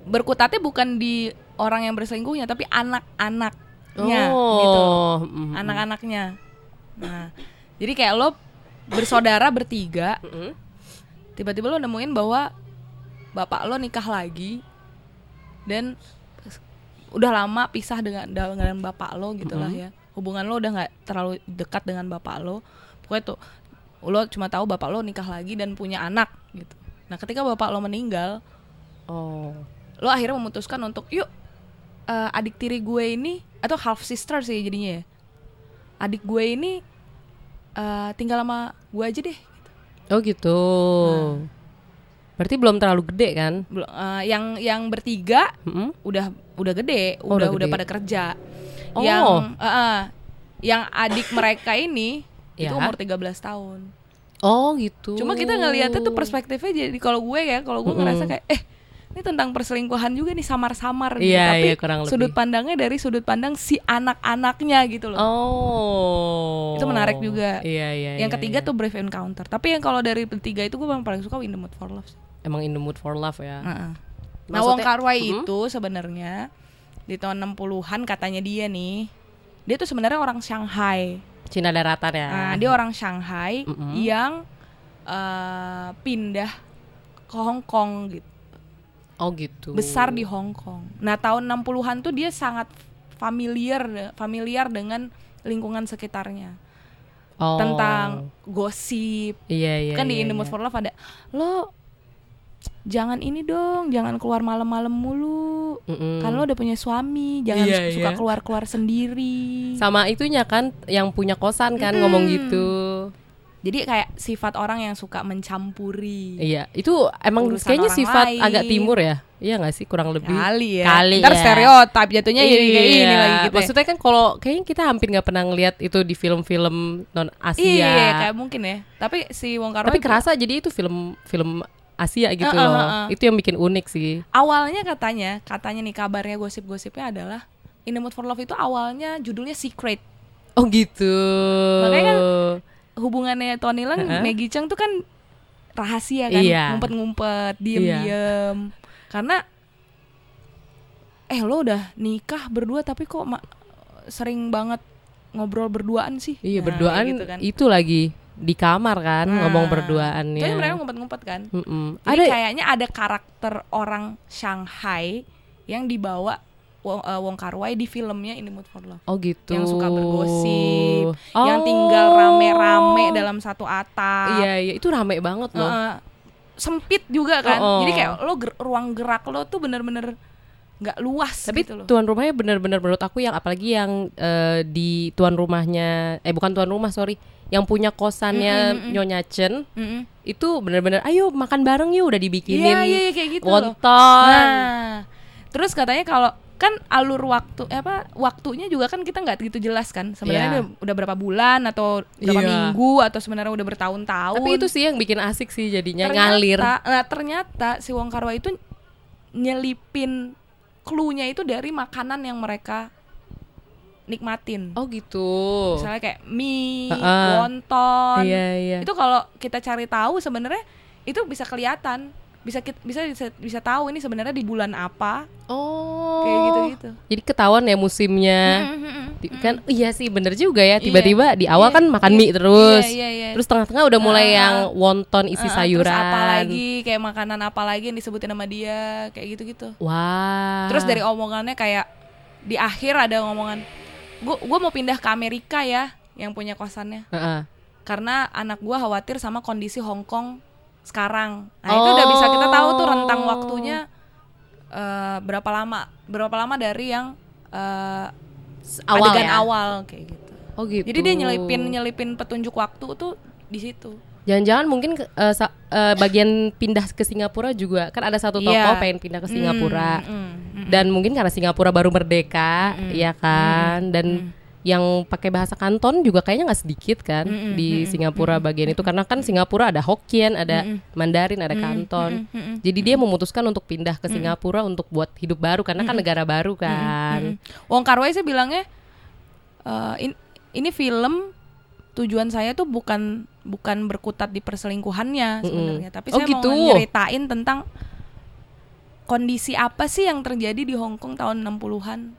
berkutatnya bukan di orang yang berselingkuhnya tapi anak-anaknya gitu.
Oh, mm, mm.
Anak-anaknya. Nah, jadi kayak lo bersaudara bertiga,
Mm-mm.
tiba-tiba lo nemuin bahwa bapak lo nikah lagi dan udah lama pisah dengan dengan bapak lo gitu lah ya. Hubungan lo udah nggak terlalu dekat dengan bapak lo. Pokoknya tuh lo cuma tahu bapak lo nikah lagi dan punya anak gitu. Nah, ketika bapak lo meninggal,
Oh.
lo akhirnya memutuskan untuk yuk eh, adik tiri gue ini atau half sister sih jadinya ya adik gue ini eh, tinggal sama gue aja deh
Oh gitu.
Nah.
Berarti belum terlalu gede kan?
Belum- eh, yang yang bertiga
Mm-mm.
udah udah gede
Oh, udah
udah udah
gede.
pada kerja
Oh.
yang eh, eh, yang adik mereka ini itu
[laughs] Ya.
umur 13 tahun
Oh gitu.
cuma kita ngelihatnya tuh perspektifnya jadi kalau gue ya kalau gue ngerasa kayak eh ini tentang perselingkuhan juga nih samar-samar gitu
Iya,
tapi
iya, kurang lebih.
sudut pandangnya dari sudut pandang si anak-anaknya gitu loh
Oh.
Itu menarik juga.
Iya iya.
yang
iya,
ketiga
iya.
tuh Brave Encounter. Tapi yang kalau dari ketiga itu gue paling suka In the Mood for Love. sih.
emang in the mood for love ya.
Heeh. Nah,
Maksudnya-
Wong Kar Wai itu sebenarnya di tahun 60-an katanya dia nih. Dia tuh sebenarnya orang Shanghai.
Cina daratan ya.
Nah, dia orang Shanghai
Mm-mm.
yang eh, pindah ke Hong Kong gitu.
oh gitu.
Besar di Hong Kong. Nah, tahun 60-an tuh dia sangat familiar familiar dengan lingkungan sekitarnya.
Oh.
Tentang gosip,
Iya iya.
kan di
iya,
In the Mood
iya.
for Love ada lo jangan ini dong jangan keluar malam-malam mulu
Mm-mm.
kan lo udah punya suami jangan
Hmm. Iya,
suka
iya.
keluar-keluar sendiri
sama itunya kan yang punya kosan kan ngomong gitu.
jadi kayak sifat orang yang suka mencampuri
Iya, itu emang
Urusan
kayaknya
orang
sifat
lain.
agak timur ya. Iya nggak sih kurang lebih.
kali ya
Kali
ntar
ya.
stereotip jatuhnya jadi
Iya,
kayak ini lagi gitu ya.
Maksudnya kan kalau kayaknya kita hampir nggak pernah ngelihat itu di film-film non Asia.
iya kayak mungkin ya tapi si Wong Kar Wai
Tapi
tuh
kerasa jadi itu film film Asia gitu
Heeh,
loh.
heeh.
Itu yang bikin unik sih.
awalnya katanya katanya nih kabarnya gosip-gosipnya adalah In the Mood for Love itu awalnya judulnya Secret
Oh gitu.
Makanya kan hubungannya Tony Leng,
Heeh.
Maggie Cheung tuh kan rahasia kan,
Iya.
ngumpet-ngumpet, diem-diem. Karena eh lo udah nikah berdua tapi kok ma- sering banget ngobrol berduaan sih?
Iya
Nah,
berduaan
kayak gitu kan.
itu lagi di kamar kan
Nah,
ngomong berduaannya.
Kayaknya mereka ngumpet-ngumpet kan.
Mm-mm.
Jadi
Ada
kayaknya ada karakter orang Shanghai yang dibawa Wong, eh, Wong Kar Wai di filmnya In the Mood for Love.
oh gitu.
Yang suka bergosip,
Oh.
yang tinggal rame-rame dalam satu atap.
Iya iya itu rame banget loh.
Heeh. sempit juga kan.
Oh, oh.
Jadi kayak lo ger- ruang gerak lo tuh bener-bener nggak luas
Tapi
gitu loh.
tuan rumahnya benar-benar menurut aku yang apalagi yang eh, di tuan rumahnya eh bukan tuan rumah sorry yang punya kosannya Nyonya Chen
Mm-mm.
itu benar-benar ayo makan bareng yuk udah dibikinin
Iya iya iya, kayak gitu loh.
wonton.
Nah, terus katanya kalau kan alur waktu eh, apa waktunya juga kan kita nggak gitu jelas kan
Iya.
sebenarnya udah, udah berapa bulan atau berapa
Iya.
minggu atau sebenarnya udah bertahun-tahun
Tapi itu sih yang bikin asik sih jadinya
Ternyata-
ngalir.
nah ternyata si Wong Kar Wai itu nyelipin clue-nya itu dari makanan yang mereka nikmatin
Oh gitu.
misalnya kayak mie,
Heeh.
wonton.
Iya, iya.
Itu kalau kita cari tahu sebenarnya itu bisa kelihatan, bisa kit- bisa bisa, bisa tahu ini sebenarnya di bulan apa,
Oh.
kayak gitu-gitu.
Jadi ketahuan ya musimnya.
Mm, mm, mm, mm.
Ti- Kan iya sih bener juga ya
Iya.
tiba-tiba di awal
Iya,
kan makan
iya,
mie terus.
iya, iya, iya.
Terus tengah-tengah udah mulai
Ah.
yang wonton isi
Heeh,
sayuran.
Terus apa lagi kayak makanan apa lagi yang disebutin sama dia, kayak gitu-gitu.
Wah.
Terus dari omongannya kayak di akhir ada omongan, "Gua gua mau pindah ke Amerika ya." Yang punya kosannya.
Heeh.
karena anak gua khawatir sama kondisi Hong Kong sekarang. Nah itu udah bisa kita tahu tuh rentang
Oh.
waktunya eh, berapa lama, berapa lama dari yang eh,
S- awal
adegan
ya?
awal kayak gitu.
Oh gitu.
Jadi dia nyelipin nyelipin petunjuk waktu tuh di situ.
Jangan-jangan mungkin ke- eh, sa- eh, bagian pindah ke Singapura juga kan ada satu tokoh
Iya.
pengen pindah ke Singapura.
Mm, mm, mm.
Dan mungkin karena Singapura baru merdeka,
Hmm.
ya kan. Dan
Mm,
yang pakai bahasa Kanton juga kayaknya nggak sedikit kan
Hmm,
di Singapura bagian itu karena kan Singapura ada Hokkien, ada
Hmm,
Mandarin,
mm,
ada Kanton. Jadi dia memutuskan untuk pindah ke
Hmm.
Singapura untuk buat hidup baru karena kan negara baru
hmm.
kan.
Wong Kar Wai sih bilangnya eh, in- ini film tujuan saya tuh bukan bukan berkutat di perselingkuhannya sebenarnya, tapi
Oh,
saya
gitu.
mau nyeritain tentang kondisi apa sih yang terjadi di Hong Kong tahun 60-an?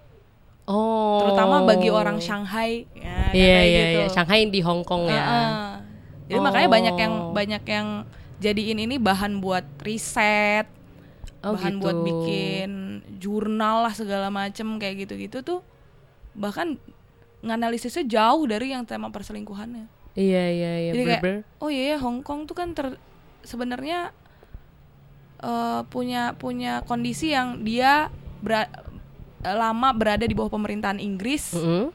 Oh.
Terutama bagi orang Shanghai. Ya,
Iya
kayak
iya
gitu.
iya. Shanghai di Hong Kong ya.
Heeh. Jadi makanya banyak yang
Oh.
banyak yang jadiin ini bahan buat riset,
Oh,
bahan
gitu.
buat bikin jurnal lah segala macem kayak gitu-gitu tuh bahkan nganalisisnya jauh dari yang tema perselingkuhannya.
Iya iya iya.
Jadi kayak
Berber.
oh iya ya Hong Kong tuh kan ter sebenarnya eh, punya punya kondisi yang dia bera- eh, lama berada di bawah pemerintahan Inggris
Mm-mm.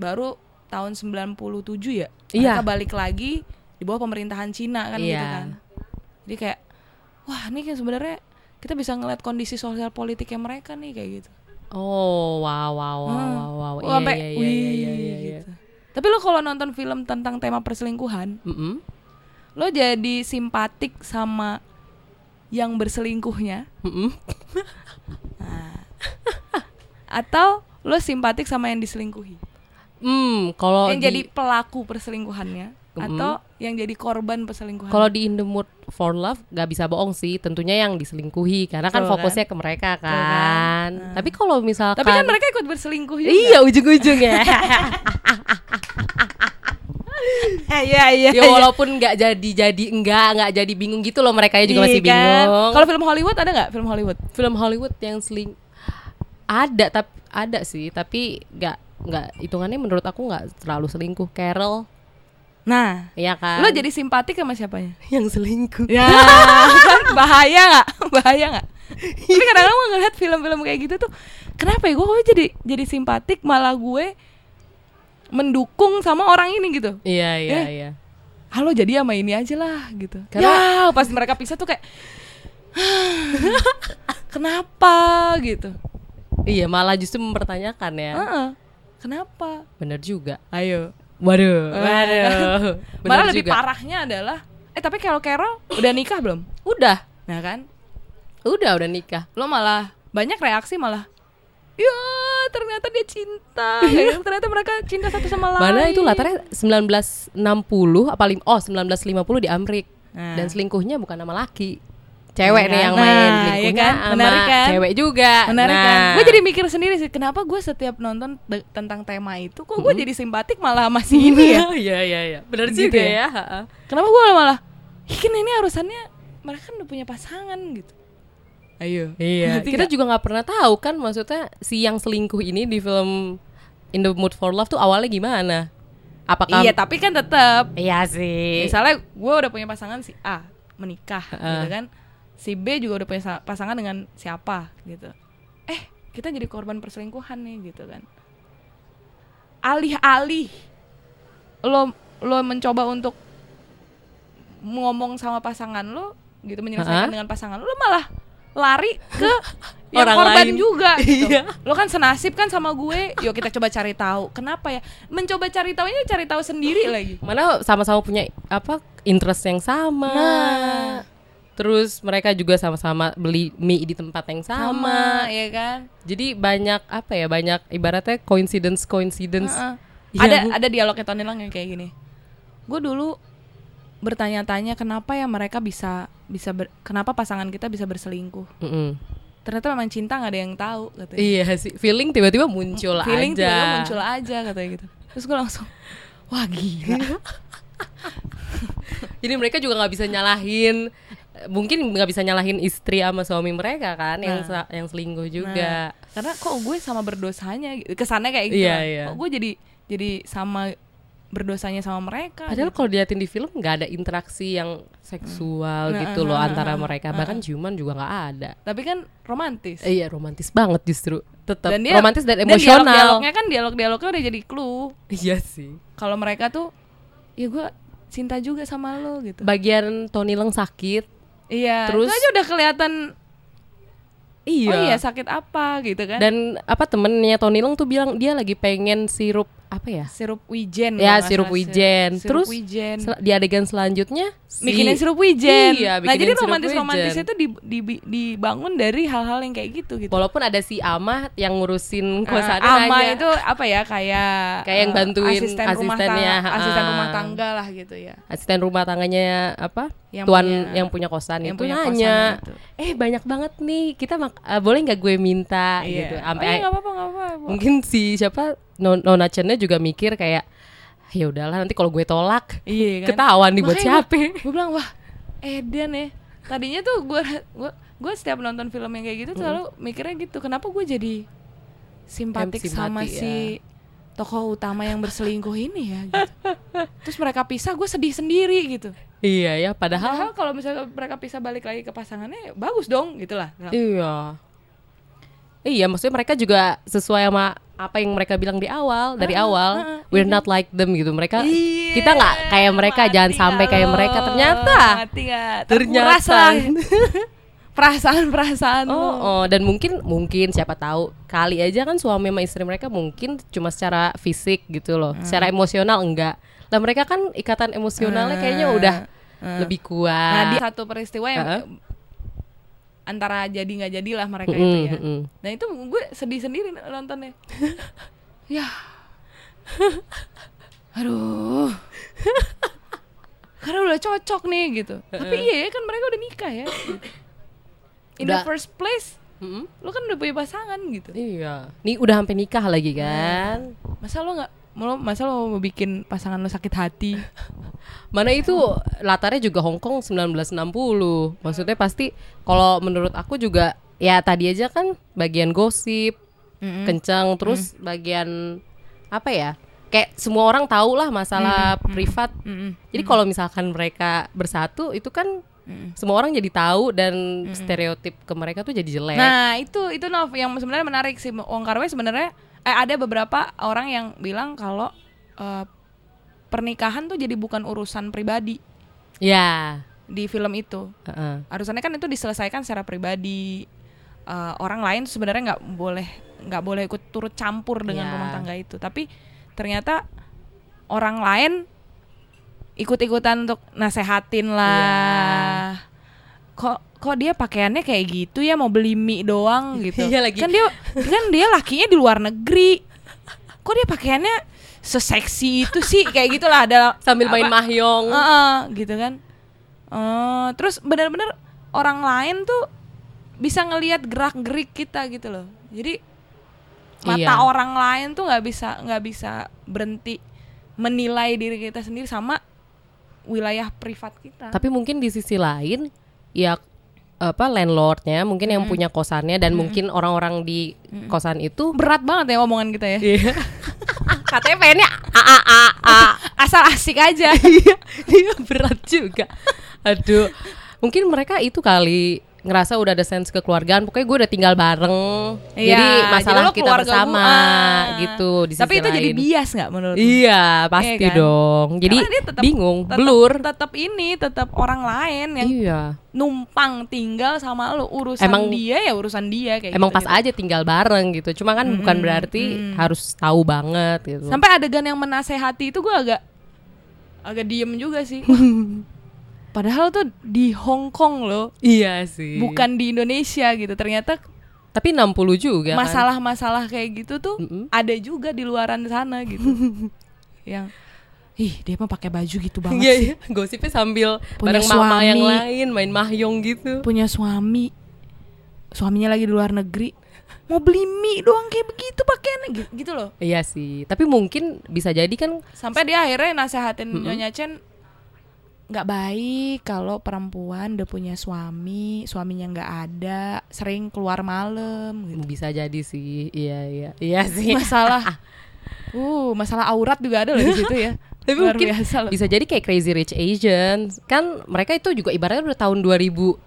baru tahun 97 ya
Iya.
mereka balik lagi di bawah pemerintahan Cina kan gitu
Iya.
kan jadi kayak wah ini kayak sebenarnya kita bisa ngeliat kondisi sosial politiknya mereka nih kayak gitu
Oh wow wow wow
Hmm.
wow wow.
Wah,
Iya
sampai,
iya iya
wih,
iya iya. iya.
gitu. tapi lo kalau nonton film tentang tema perselingkuhan
Mm-mm.
lo jadi simpatik sama yang berselingkuhnya Nah.
Mm-mm.
atau lo simpatik sama yang diselingkuhi
Hmm, kalau
yang
di-
jadi pelaku perselingkuhannya
Mm-mm.
atau yang jadi korban perselingkuhan
Kalau di In the Mood for Love gak bisa bohong sih, tentunya yang diselingkuhi karena kan
Betul kan?
fokusnya ke mereka kan.
kan?
Tapi kalau misalkan
tapi kan mereka ikut berselingkuh juga
Iya ujung-ujungnya.
[laughs] Iya iya.
ya walaupun nggak jadi jadi enggak nggak jadi bingung gitu loh mereka
Iya
juga masih
kan?
bingung.
Kalau film Hollywood ada nggak film Hollywood?
film Hollywood yang seling ada tapi ada sih tapi nggak nggak hitungannya menurut aku nggak terlalu selingkuh Carol
Nah,
ya kan
lo jadi simpatik sama siapanya?
yang selingkuh
Ya,
Ah.
kan [laughs] bahaya nggak? Bahaya nggak? Tapi kadang-kadang gue ngeliat film-film kayak gitu tuh, kenapa ya gue kok jadi jadi simpatik malah gue mendukung sama orang ini gitu.
iya iya
Eh.
iya
Halo jadi sama ini aja lah gitu.
Karena-
ya, pas mereka pisah tuh kayak "Ah, kenapa gitu.
iya malah justru mempertanyakan ya
Heeh. Kenapa?
bener juga
Ayo.
Waduh,
[laughs] waduh.
Bener
Eh. Malah lebih
juga.
parahnya adalah eh tapi kalau Carol udah nikah belum?
Udah,
Nah kan,
udah udah nikah.
lo malah banyak reaksi malah ya ternyata dia
[laughs]
cinta Ya, ternyata mereka cinta satu sama lain
Mana itu latarnya 1960 apa lim oh 1950 di Amrik.
Nah.
Dan selingkuhnya bukan nama laki. Cewek
Iya
nih
kan?
yang main
Nah,
selingkuhnya
iya kan?
sama
Menarik kan?
cewek juga.
menarik
nah.
kan gue jadi mikir sendiri sih kenapa gue setiap nonton te- tentang tema itu kok gue jadi simpatik malah masih ini ya
[laughs] Iya iya iya. Benar
Gitu
juga
ya?
ya. ha-ha.
kenapa gue malah "Ih, kan ini urusannya mereka kan udah punya pasangan gitu ayo
Iya. Kita juga nggak pernah tahu kan maksudnya si yang selingkuh ini di film In the Mood for Love tuh awalnya gimana? Apakah
iya tapi kan tetap
Iya sih.
misalnya gue udah punya pasangan si A menikah gitu kan si B juga udah punya sa- pasangan dengan siapa gitu eh kita jadi korban perselingkuhan nih gitu kan alih-alih lo lo mencoba untuk ngomong sama pasangan lo gitu menyelesaikan
Ha-ha.
dengan pasangan lo, lo malah lari
[laughs]
ke yang
Orang
korban
lain. [laughs]
juga gitu.
Iya.
Lo kan senasib kan sama gue, yuk kita coba cari tahu. Kenapa ya? Mencoba cari tahu ini cari tahu
[laughs]
sendiri lagi.
mana sama-sama punya apa interest yang sama
Nah.
terus mereka juga sama-sama beli mie di tempat yang sama,
ya kan
jadi banyak apa ya banyak ibaratnya coincidence coincidence
Heeh.
Iya,
ada
Bu.
ada dialognya Tony Lang yang kayak gini gue dulu bertanya-tanya kenapa ya mereka bisa bisa ber- kenapa pasangan kita bisa berselingkuh
Mm-mm.
ternyata memang cinta nggak ada yang tahu katanya
iya sih feeling tiba-tiba muncul
feeling
aja
tiba-tiba muncul aja katanya gitu terus gue langsung wah gila
[laughs] jadi mereka juga nggak bisa nyalahin eh, mungkin nggak bisa nyalahin istri sama suami mereka kan yang sa- yang selingkuh juga
Nah, karena kok gue sama berdosanya gitu. kesannya kayak gitu
Iya,
lah.
iya.
kok gue jadi jadi sama berdosanya sama mereka gitu."
Padahal kalau diliatin di film nggak ada interaksi yang seksual
Nah,
gitu loh
nah, nah,
antara
nah,
mereka bahkan ciuman juga nggak ada.
tapi kan romantis
Eh, Iya romantis banget justru tetap
dan dia
romantis dan emosional.
dialog-dialognya kan dialog-dialognya udah jadi clue
Iya sih.
kalau mereka tuh ya gue cinta juga sama lo gitu
Bagian Tony Leng sakit.
iya
Terus-
terus aja udah kelihatan
Iya.
oh iya sakit apa gitu kan
Dan apa temennya Tony Leng tuh bilang dia lagi pengen sirup apa ya?
sirup wijen
Ya,
kalau nggak
sirup
salah, sir-
wijen.
sirup
Terus
wijen.
sel- di adegan selanjutnya si-
bikinin sirup wijen
Iya,
nah
bikinin
jadi
sirup
romantis romantisnya
wijen.
itu di- di- dibangun dari hal-hal yang kayak gitu gitu
Walaupun ada si Amah yang ngurusin
Eh,
kosannya
ama
nanya,
itu apa ya kayak
Kayak yang
eh,
bantuin
asisten rumah
asistennya,
tangga, asisten
ah.
rumah tangga lah gitu ya
asisten rumah tangganya apa?
Yang
Tuan
punya-
yang punya kosan
yang
itu
punya
nanya.
kosannya itu.
Eh, banyak banget nih. Kita mak- eh, boleh nggak gue minta
Iya.
gitu.
oh,
Sampai
iya, nggak apa-apa nggak apa-apa
mungkin si siapa Non- Nona Chen-nya juga mikir kayak ya udahlah nanti kalau gue tolak
iya kan
ketahuan nih buat siapa. [laughs]
gue bilang wah Edan ya tadinya tuh gue gue gue setiap nonton film yang kayak gitu tuh selalu mikirnya gitu kenapa gue jadi
Em,
simpatik
simpati,
sama
ya.
si tokoh utama yang berselingkuh ini ya gitu. terus mereka pisah gue sedih sendiri gitu
Iya ya, padahal
Padahal kalau misalnya mereka pisah balik lagi ke pasangannya bagus dong gitu lah
Iya. Iya, maksudnya mereka juga sesuai sama apa yang mereka bilang di awal, dari awal, we're not like them gitu. Mereka
Ah, Iya,
kita nggak kayak mereka, jangan
mati
sampai
nggak
kayak
lo?
mereka. Ternyata.
mati nggak?
Ternyata.
Terkuras lah. perasaan-perasaan lo.
Oh, oh, dan mungkin mungkin siapa tahu kali aja kan suami sama istri mereka mungkin cuma secara fisik gitu loh,
Ah.
secara emosional enggak. Lah mereka kan ikatan emosionalnya kayaknya udah lebih
Ah, Nah, di
kuat.
satu peristiwa yang
Heeh.
antara jadi nggak jadilah mereka
Mm-mm,
itu ya.
mm-mm.
Dan itu gue sedih sendiri
[laughs]
nontonnya. ya. Aduh. Karena udah cocok nih gitu. Tapi iya ya kan mereka udah nikah ya. In the
Udah.
first place,
Mm-mm.
lu kan udah punya pasangan gitu.
Iya. Nih udah sampai nikah lagi
Nah.
kan.
Masa lu nggak mau masa lu mau bikin pasangan lu sakit
[laughs]
hati?
Mana itu latarnya juga Hong Kong 1960. Maksudnya pasti kalau menurut aku juga ya tadi aja kan bagian gosip kencang terus bagian apa ya? Kayak semua orang tahu lah masalah privat.
Mm-mm.
Jadi kalau misalkan mereka bersatu itu kan semua orang jadi tahu dan stereotip ke mereka tuh jadi jelek.
Nah, itu itu Nov yang sebenarnya menarik sih Wong Kar Wai sebenarnya eh, ada beberapa orang yang bilang kalau eh, pernikahan tuh jadi bukan urusan pribadi
ya.
di film itu.
Heeh.
Urusannya kan itu diselesaikan secara pribadi. Eh, orang lain tuh sebenarnya nggak boleh nggak boleh ikut turut campur dengan
Iya.
rumah tangga itu. Tapi ternyata orang lain ikut-ikutan untuk nasehatin lah.
Iya.
Kok kok dia pakaiannya kayak gitu ya mau beli mie doang
[laughs]
gitu.
Iya lagi.
Kan dia kan dia lakinya di luar negeri. Kok dia pakaiannya seseksi itu sih kayak gitu gitulah ada
Sambil main
apa-
mahjong.
Heeh, gitu kan. Eh, terus benar-benar orang lain tuh bisa ngelihat gerak-gerik kita gitu loh. Jadi mata
Iya.
orang lain tuh nggak bisa nggak bisa berhenti menilai diri kita sendiri sama wilayah privat kita.
Tapi mungkin di sisi lain ya apa landlordnya mungkin yang punya kosannya dan mungkin orang-orang di kosan
[laughs]
itu
Berat banget ya omongan kita ya.
Iya. katanya pengennya a a a a
Asal asik aja.
[laughs] iya iya, berat juga aduh mungkin mereka itu kali ngerasa udah ada sense kekeluargaan pokoknya gue udah tinggal bareng
Iya,
jadi masalah
lo
kita
keluarga
bersama
gua. Ah.
gitu di
Tapi
sisi
itu jadi
lain.
bias nggak menurut lu?
iya pasti
Iya kan?
dong jadi
Karena dia tetap-
bingung
tetap-
blur
tetap ini tetap orang lain yang
iya
numpang tinggal sama lo urusan
Emang-
dia ya urusan dia kayak
emang
gitu,
pas aja tinggal bareng gitu cuma kan bukan berarti harus tahu banget gitu
sampai adegan yang menasehati itu gue agak agak diem juga
[laughs]
sih Wah, padahal tuh di Hong Kong loh
iya sih
bukan di Indonesia gitu ternyata
tapi 60 juga kan.
masalah-masalah kayak gitu tuh
Mm-mm.
ada juga di luaran sana
[laughs]
gitu yang ih dia mah pakai baju gitu banget
Iya
sih.
iya, gosipnya sambil
Punya
bareng mama
suami.
yang lain main mahyong gitu.
punya suami suaminya lagi di luar negeri mau beli mie doang kayak begitu pakaiannya Gitu- gitu loh
Iya sih, tapi mungkin bisa jadi kan
sampai dia akhirnya nasehatin Nyonya Chen nggak baik kalau perempuan udah punya suami suaminya nggak ada sering keluar malam gitu.
bisa jadi sih. Iya iya. Iya sih.
masalah uh masalah aurat juga ada loh di situ ya
[laughs] Tapi
luar
mungkin
biasa loh
bisa jadi kayak Crazy Rich Asians. Kan mereka itu juga ibaratnya udah tahun 2017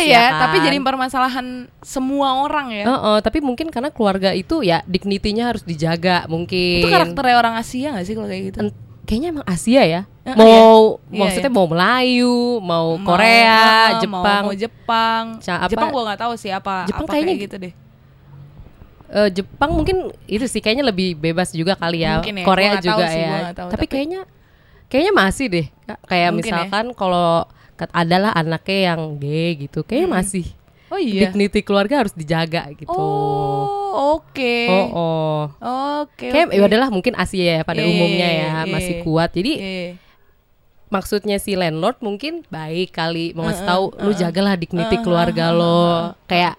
ya,
ya
kan?
tapi jadi permasalahan semua orang ya
Heeh, tapi mungkin karena keluarga itu ya dignitinya harus dijaga mungkin.
itu karakternya orang Asia nggak sih kalau kayak gitu
En- kayaknya emang Asia ya.
Heeh,
mau
iya. Iya,
maksudnya
iya.
mau Melayu, mau
Mau-
Korea,
ah, mau-
Jepang.
mau Jepang
Ca- apa-
Jepang gua nggak tahu sih apa
Jepang
apa
kayaknya gitu.
kayak gitu deh
eh, Jepang mungkin itu sih kayaknya lebih bebas juga kali ya.
Mungkin ya,
Korea
gua nggak
juga
tahu sih,
ya.
gua nggak tahu,
tapi,
tapi-
kayaknya kayaknya masih deh. Kak. Kayak
Mungkin ya.
misalkan kalau kat- adalah anaknya yang gay gitu, kayaknya masih
Oh iya.
dignity keluarga harus dijaga gitu.
Oh, oke.
Oh, oh.
Oke.
Kayak
oke.
ya adalah mungkin Asia ya pada
Iya,
umumnya ya
iya, iya.
masih kuat. Jadi
Iya.
maksudnya si landlord mungkin baik kali mau ngasih tahu lu jagalah dignity keluarga lo kayak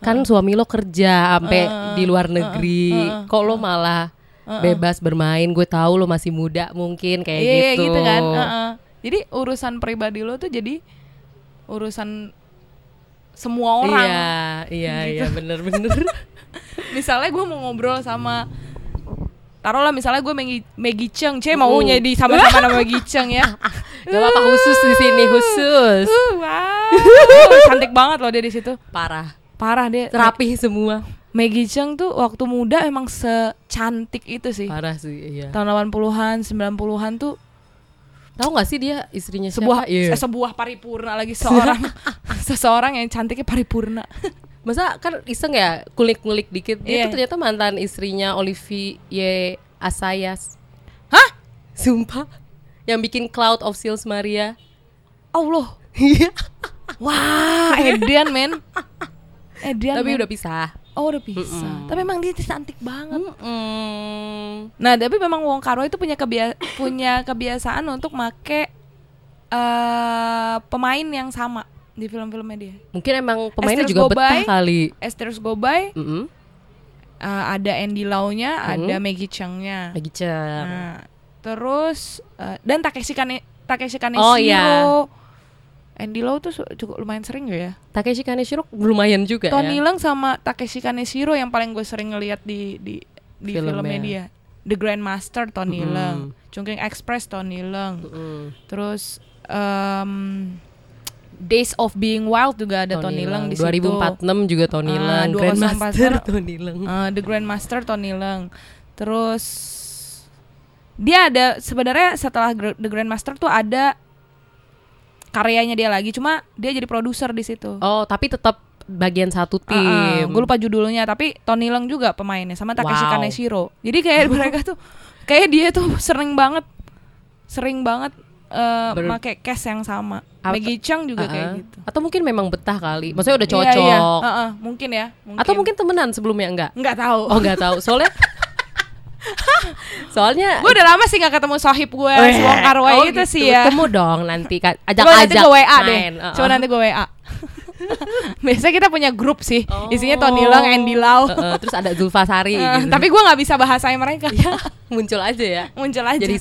kan suami lo kerja sampai di luar negeri kok lo malah bebas bermain gue tahu lo masih muda mungkin kayak
Iya, iya,
gitu.
gitu kan. Heeh. Jadi urusan pribadi lo tuh jadi urusan semua orang. Gitu.
Iya, iya, iya,
[laughs]
bener-bener.
Misalnya gue mau ngobrol sama taruhlah misalnya gue Maggie, Maggie Cheung, Cie mau
Uh.
jadi sama-sama nama Maggie Cheung
[laughs]
ya.
Gak apa-apa khusus di sini
[laughs]
khusus.
Uh, wow. Cantik banget loh dia di situ.
Parah,
Parah dia.
rapi semua.
Maggie Cheung tuh waktu muda emang secantik itu sih.
Parah sih, iya.
Tahun 80-an, 90-an tuh
Tahu gak sih dia istrinya
sebuah
siapa? Iya.
eh, sebuah paripurna lagi seorang
[laughs]
seseorang yang cantiknya paripurna.
Masa kan iseng ya kulik-kulik dikit Dia
Iya.
tuh ternyata mantan istrinya Olivier Assayas
Hah?
Sumpah Yang bikin Cloud of Sils
[laughs]
Maria
Allah.
Iya
Wah, Edian men. Edian.
Tapi
men.
udah pisah
oh udah bisa. Tapi emang dia cantik banget.
Mm-mm.
Nah, tapi memang Wong Kar Wai itu punya kebia- punya kebiasaan untuk make eh pemain yang sama di film-filmnya dia.
Mungkin emang pemainnya
Esther
juga
Gobay.
betah kali
Esther Gobay,
Mm-mm.
eh, ada Andy Lau-nya, ada
Hmm?
Maggie Cheung-nya.
Lagi cer
Nah, terus eh, dan Takeshi Kane Takeshi Kaneshiro.
Oh, iya.
Andy Lau tuh su- cukup lumayan sering gak ya?
Takeshi Kaneshiro lumayan juga
Tony
ya
Leung sama Takeshi Kaneshiro yang paling gue sering ngeliat di di di
Filmnya.
filmnya dia. The Grandmaster Tony
Mm-mm.
Leung, Chungking Express Tony Leung.
Mm.
Terus em, Days of Being Wild juga ada Tony, Leung di situ.
2046 juga Tony
Ah,
Leung Grandmaster [laughs]
2041.
Tony Leung
Eh, The Grandmaster Tony Leung. Terus dia ada sebenarnya setelah Gr- The Grandmaster tuh ada karyanya dia lagi, cuma dia jadi produser di situ.
Oh tapi tetap bagian satu
Ah,
tim
gue lupa judulnya, tapi Tony Leung juga pemainnya sama Takeshi
Wow.
Kaneshiro. Jadi kayak [laughs] mereka tuh kayak dia tuh sering banget sering banget eh
Ber-
make cast yang sama.
Atau-
Maggie Cheung juga kayak
Ah-ah.
gitu.
Atau mungkin memang betah kali Maksudnya udah cocok
Iya, iya. Ah-ah, mungkin ya.
Atau mungkin temenan sebelumnya enggak?
nggak tahu. [laughs]
Oh nggak tahu. Soalnya soalnya
Gue udah lama sih gak ketemu sohib gue, si Wong Kar Wai
Oh,
itu sih ya.
Ketemu dong nanti kan ajak
Coba nanti
ajak
gue WA deh.
main. Uh-uh.
Coba nanti gue WA. [laughs] Biasanya kita punya grup sih,
Oh.
isinya Tony Leung, Andy Lau.
Uh-uh, terus ada Zulfasari
Eh,
gitu.
Tapi gue nggak bisa bahasanya mereka.
ya [laughs] muncul aja ya.
[laughs] Muncul aja.
Jadi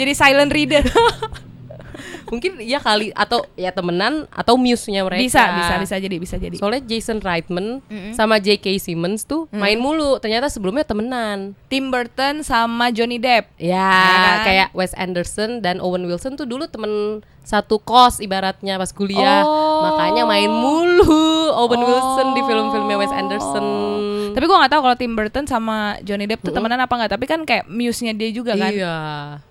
Jadi,
saksi.
silent reader.
Mungkin iya kali atau ya temenan atau muse-nya mereka.
bisa, bisa, bisa jadi, bisa jadi.
Soalnya Jason Reitman sama J.K. Simmons tuh main mulu. Ternyata sebelumnya temenan.
Tim Burton sama Johnny Depp.
Ya,
kan?
kayak Wes Anderson dan Owen Wilson tuh dulu temen satu kos ibaratnya pas kuliah.
Oh.
Makanya main mulu Owen
Oh.
Wilson di film-filmnya Wes Anderson.
Tapi gue nggak tahu kalau Tim Burton sama Johnny Depp tuh temenan apa nggak. Tapi kan kayak muse-nya dia juga kan.
Hmm? Iya.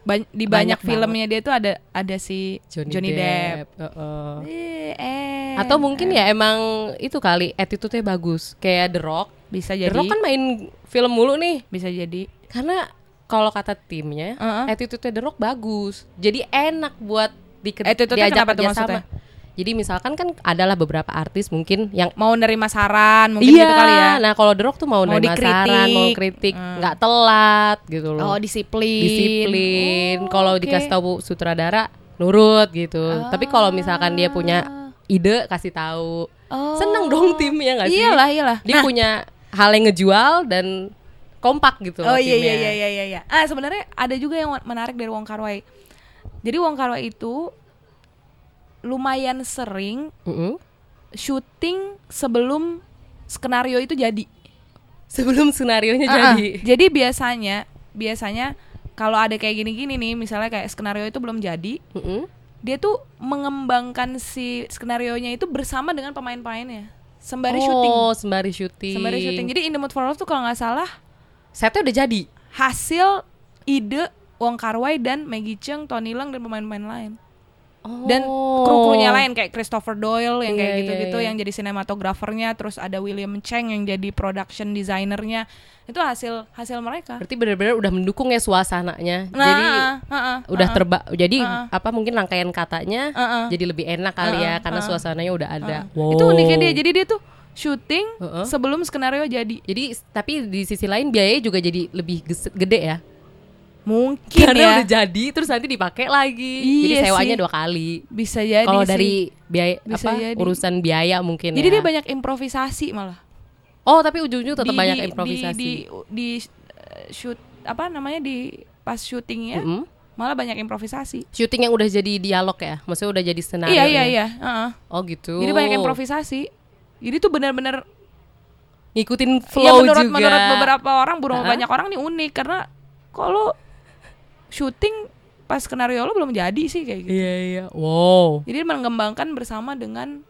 Ban- di
Banyak
banyak, filmnya dia tuh ada ada si
Johnny,
Johnny,
Depp.
Depp.
Heeh.
Eh, eh.
Atau mungkin ya emang itu kali attitude-nya bagus. Kayak The Rock.
bisa
The
jadi
Rock kan main film mulu nih.
bisa jadi
Karena kalau kata timnya,
Heeh.
attitude-nya The Rock bagus. Jadi enak buat diker-
Attitude-nya
diajak
kenapa tuh
kerja sama.
maksudnya?
Jadi misalkan kan adalah beberapa artis mungkin yang
mau nerima saran mungkin gitu kali ya.
Nah, kalau The Rock tuh mau,
Mau
nerima saran, mau kritik,
dikritik.
nggak telat gitu loh.
Oh, disiplin.
Disiplin. kalau
Oh, oke.
dikasih tahu sutradara, nurut gitu. Tapi
Ah.
kalau misalkan dia punya ide, kasih tahu.
Oh.
Seneng dong timnya nggak sih?
Iyalah, iyalah.
Dia punya hal yang ngejual dan kompak gitu
Oh
loh
iya iya
timnya.
iya iya iya. Ah sebenarnya ada juga yang menarik dari Wong Kar Wai. Jadi Wong Kar Wai itu lumayan sering
Mm-mm.
syuting sebelum skenario itu jadi.
Sebelum senarionya
Ah, ah.
jadi.
Jadi biasanya biasanya kalau ada kayak gini-gini nih, misalnya kayak skenario itu belum jadi,
Mm-mm.
dia tuh mengembangkan si skenarionya itu bersama dengan pemain-pemainnya sembari
oh,
syuting.
sembari syuting.
Sembari syuting. Jadi In the Mood for Love tuh kalau nggak salah
Setnya udah jadi.
hasil ide Wong Kar Wai dan Maggie Cheung, Tony Leung dan pemain-pemain lain. dan kru-krunya lain kayak Christopher Doyle yang
Oh. Iya,
kayak
iya,
gitu-gitu
iya.
yang jadi sinematografernya terus ada William Cheng yang jadi production designernya itu hasil hasil mereka
Berarti benar-benar udah mendukung ya suasananya.
nah
Jadi
ah, ah,
udah
ah,
terba jadi
Ah.
apa mungkin rangkaian katanya
ah, ah.
jadi lebih enak kali ya
Ah,
karena
ah.
suasananya udah ada.
itu
Wow.
uniknya dia jadi dia tuh syuting
Heeh.
sebelum skenario jadi
Jadi s- tapi di sisi lain biayanya juga jadi lebih ges- gede ya.
mungkin
Karena
ya
udah jadi terus nanti dipakai lagi. jadi
Iya
sewanya
sih.
dua kali.
bisa jadi
Kalau
sih.
dari biaya
Bisa
apa
jadi.
urusan biaya mungkin
jadi
ya.
dia banyak improvisasi malah
Oh, tapi ujung-ujung tetap
Di-
banyak
di- di-
improvisasi.
di, di, eh, shoot apa namanya di pas syutingnya
Mm-mm.
malah banyak improvisasi
Syuting yang udah jadi dialog ya. Maksudnya udah jadi skenario.
iya iya
ya?
iya heeh.
Oh, gitu.
jadi banyak improvisasi jadi tuh benar-benar
Ngikutin flow
ya menurut
juga.
menurut beberapa orang beberapa
Heeh.
banyak orang nih unik karena kalau syuting pas skenario lo belum jadi sih kayak gitu
Iya iya. Wow.
jadi mengembangkan bersama dengan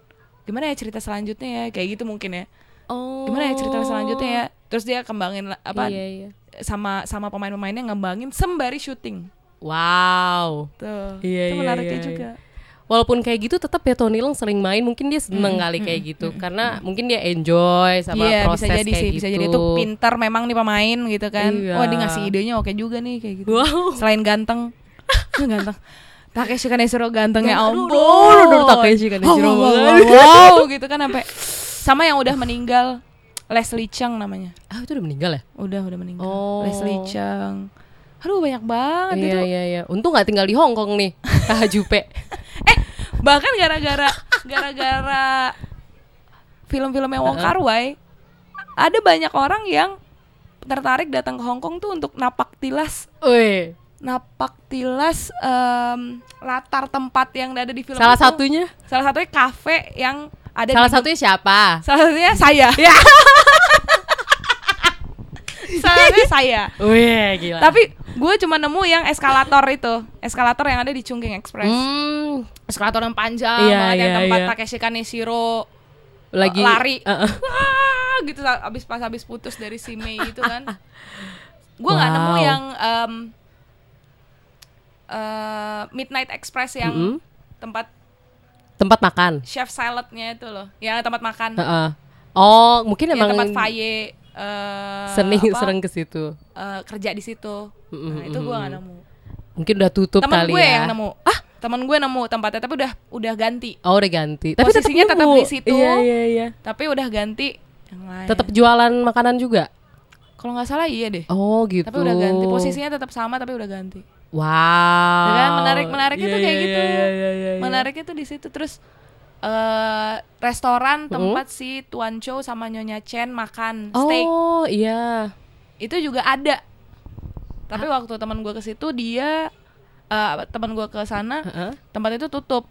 gimana ya cerita selanjutnya ya kayak gitu mungkin ya
Oh.
gimana ya cerita selanjutnya ya terus dia kembangin la- apa
Iya iya.
sama sama pemain-pemainnya ngembangin sembari syuting
Wow.
tuh
Iya,
itu
iya,
menariknya
iya,
juga
Walaupun kayak gitu tetap ya Tony Long sering main, mungkin dia seneng kali kayak gitu karena mungkin dia enjoy sama
Iya
proses
bisa jadi
kayak
sih
gitu.
bisa jadi tuh pintar memang nih pemain gitu kan
Iya.
wah dia ngasih idenya oke juga nih kayak gitu
Wow.
selain ganteng [laughs] Ah, ganteng Takeshi Kaneshiro ganteng ya
Aduh,
ampun
aduh, aduh, Takeshi Kaneshiro
wow, wow, wow,
banget.
wow, gitu kan sampai sama yang udah meninggal Leslie Cheung namanya
Ah itu udah meninggal ya?
udah udah meninggal
Oh.
Leslie Cheung aduh banyak banget itu
Iya iya iya. Untung nggak tinggal di Hong Kong
[laughs]
nih, Kak Jupe.
bahkan gara-gara gara-gara film-filmnya Wong
Heeh.
Kar Wai ada banyak orang yang tertarik datang ke Hong Kong tuh untuk napak tilas
Weh,
napak tilas em, latar tempat yang ada di film
salah
itu.
satunya,
salah satunya kafe yang ada
salah
di,
satunya siapa?
salah satunya [laughs] saya salah satunya saya
Weh, gila.
tapi gue cuma nemu yang eskalator itu eskalator yang ada di Chungking Express
Hmm,
eskalator yang panjang
Iya,
banget yang
iya,
tempat
iya.
Takeshi Kaneshiro
lagi
lari.
Heeh.
Wah, gitu sa- abis pas habis putus dari si Mei
[laughs]
gitu kan. Gue nggak nemu
Wow.
yang em, eh, Midnight Express yang
Mm-mm.
tempat
tempat makan.
chef saladnya itu loh, ya tempat makan,
Heeh. Oh, mungkin
ya
emang
tempat faye eh,
sering
apa,
sering ke situ.
eh, kerja di situ.
Mm-mm,
Nah, itu gue nggak
mm-mm.
nemu.
Mungkin udah tutup
Temen
kali
gue
ya.
yang nemu. Ah, temen gue nemu tempatnya tapi udah udah ganti.
Oh, udah ganti. Tapi tetap
Posisinya tetap
nemu.
di situ. Iya.
Iya, iya, iya.
Tapi udah ganti yang lain.
Tetap jualan makanan juga.
kalau nggak salah iya deh.
Oh, gitu.
Tapi udah ganti posisinya tetap sama tapi udah ganti.
Wow.
Ya kan menarik menariknya
Iya,
tuh kayak
iya,
gitu
Iya, iya, iya, iya.
menariknya tuh di situ terus eh restoran tempat si Tuan Chow sama Nyonya Chen makan steak
Mm-hmm. Oh, iya.
itu juga ada tapi waktu teman gua ke situ dia eh teman gua ke sana
Heeh.
tempat itu tutup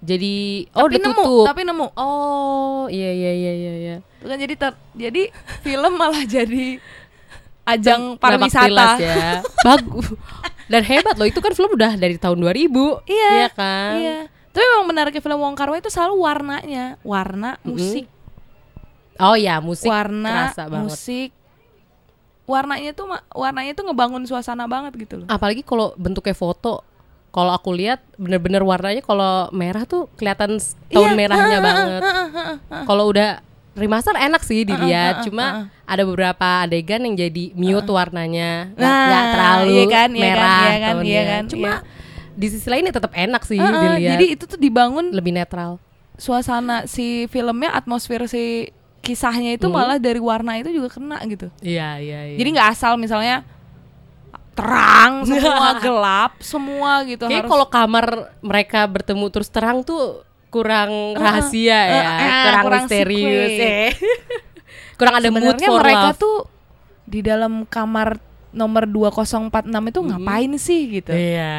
Jadi oh
tapi
udah
nemu
tutup.
tapi nemu
Oh, iya iya iya iya iya.
Tuh kan jadi ter- jadi film malah jadi ajang
Lapak tilas
pariwisata [laughs]
ya. Bagus. Dan hebat loh, itu kan film udah dari tahun 2000.
Iya,
Iya kan?
iya tapi memang menariknya film Wong Kar Wai itu selalu warnanya warna
Mm-hmm.
musik
Oh ya, musik
warna
kerasa banget.
musik warnanya tuh ma- warnanya tuh ngebangun suasana banget gitu loh
apalagi kalau bentuknya foto kalau aku lihat bener-bener warnanya kalau merah tuh kelihatan s- tahun
Iya,
merahnya
heeh,
banget
heeh, heeh, heeh.
kalau udah remaster enak
Ah,
sih dilihat
heeh,
cuma
heeh.
ada beberapa adegan yang jadi mute warnanya nggak
Ah, Nah,
nggak terlalu
iya kan, iya kan,
merah
iya kan,
tonnya.
iya kan,
cuma
iya.
di sisi lain ya tetap enak sih
Heeh,
dilihat
jadi itu tuh dibangun
lebih netral
suasana si filmnya atmosfer si kisahnya itu malah dari warna itu juga kena gitu
iya iya Hmm. iya
jadi nggak asal misalnya
[laughs]
terang semua gelap semua gitu
Kayaknya
harus
kalau kamar mereka bertemu terus terang tuh kurang rahasia
eh,
ya,
eh,
kurang,
kurang
misterius,
secret. [laughs]
eh. kurang ada mood
sebenarnya
for
mereka
love.
tuh di dalam kamar nomor 2046 itu ngapain sih gitu
Hmm. Iya.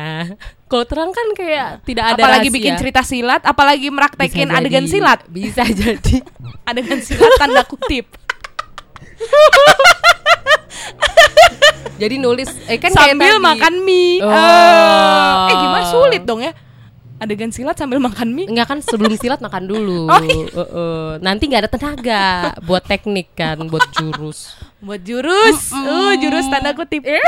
Kalau terang kan kayak tidak ada
apalagi
rahasia.
bikin cerita silat, apalagi
Bisa
meraktekin
jadi-
adegan silat.
Bisa [laughs] jadi.
Adegan silat tanda kutip.
jadi nulis eh kan kayak
sambil
tadi.
makan mie.
Oh.
Eh, eh gimana sulit dong ya? Adegan silat sambil makan mie.
Enggak kan sebelum silat makan dulu.
[laughs] Oh, iya.
Heeh. Nanti nggak ada tenaga buat teknik kan, buat jurus.
Buat jurus. Uh, jurus tanda kutip.
Eh.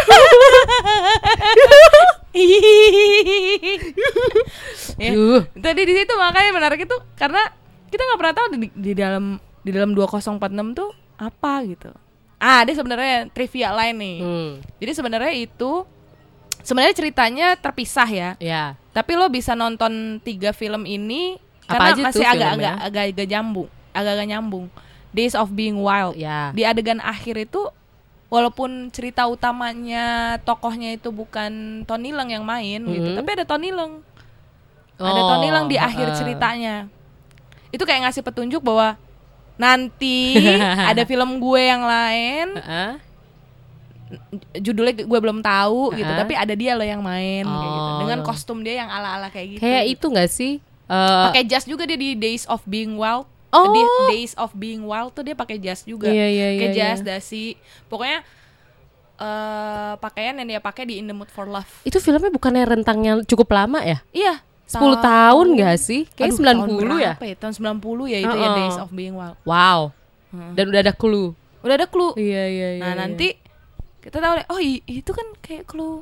Ya.
Duh.
[laughs] Tadi di situ makanya menarik itu karena kita nggak pernah tahu di, di dalam di dalam 2046 tuh apa gitu. Ah, ada sebenarnya trivia lain nih.
Hmm.
Jadi sebenarnya itu sebenarnya ceritanya terpisah ya.
Ya.
Tapi lo bisa nonton tiga film ini
Apa
karena
aja tuh
masih agak
filmnya?
agak agak agak nyambung, agak agak nyambung. Days of Being Wild.
Ya.
Di adegan akhir itu walaupun cerita utamanya tokohnya itu bukan Tony Leung yang main gitu,
Mhm.
tapi ada Tony Leung. Ada Tony Leung di akhir
eh.
ceritanya. Itu kayak ngasih petunjuk bahwa
[laughs]
nanti ada film gue yang lain
Heeh.
judulnya gue belum tahu gitu
Heeh.
tapi ada dia loh yang main kayak gitu
Oh.
dengan kostum dia yang ala ala kayak gitu
Kayak itu nggak sih? Eh,
pakai jas juga dia di Days of Being Wild Eh,
Oh.
di Days of Being Wild tuh dia pakai jas juga
Iya, iya,
pakai
iya,
jas dasi pokoknya eh pakaian yang dia pakai di In the Mood for Love
itu filmnya bukannya rentangnya cukup lama ya?
iya
10 tahun nggak sih?
Aduh,
Kayaknya
tahun
90 ya?
berapa tahun 90 ya itu ya
Heeh.
Days of Being Wild
Wow. Dan udah ada clue.
udah ada clue
Iya iya iya.
Hmm. Nah
iya.
nanti kita tahu deh, oh i- itu kan kayak clue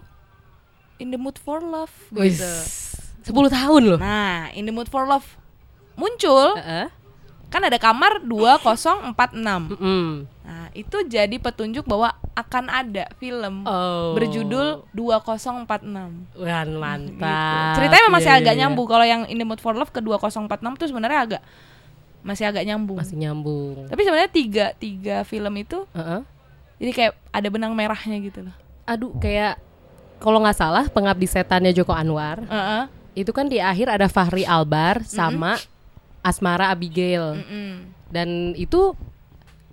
in the mood for love
Wis.
gitu.
10 tahun loh.
Nah in the mood for love muncul
Heeh.
kan ada kamar 2046.
Mm-mm.
Nah itu jadi petunjuk bahwa akan ada film
Oh.
berjudul
Wan
2046. Gitu.
mantap.
Ceritanya memang masih
Iya,
agak
iya, iya.
nyambung kalau yang in the mood for love ke 2046 tuh sebenarnya agak masih agak nyambung.
Masih nyambung.
Tapi sebenarnya tiga tiga film itu
Heeh.
jadi kayak ada benang merahnya gitu loh.
Aduh kayak kalau nggak salah pengabdi setannya Joko Anwar
Heeh.
itu kan di akhir ada Fahri Albar sama Asmara Abigail
Mm-mm.
dan itu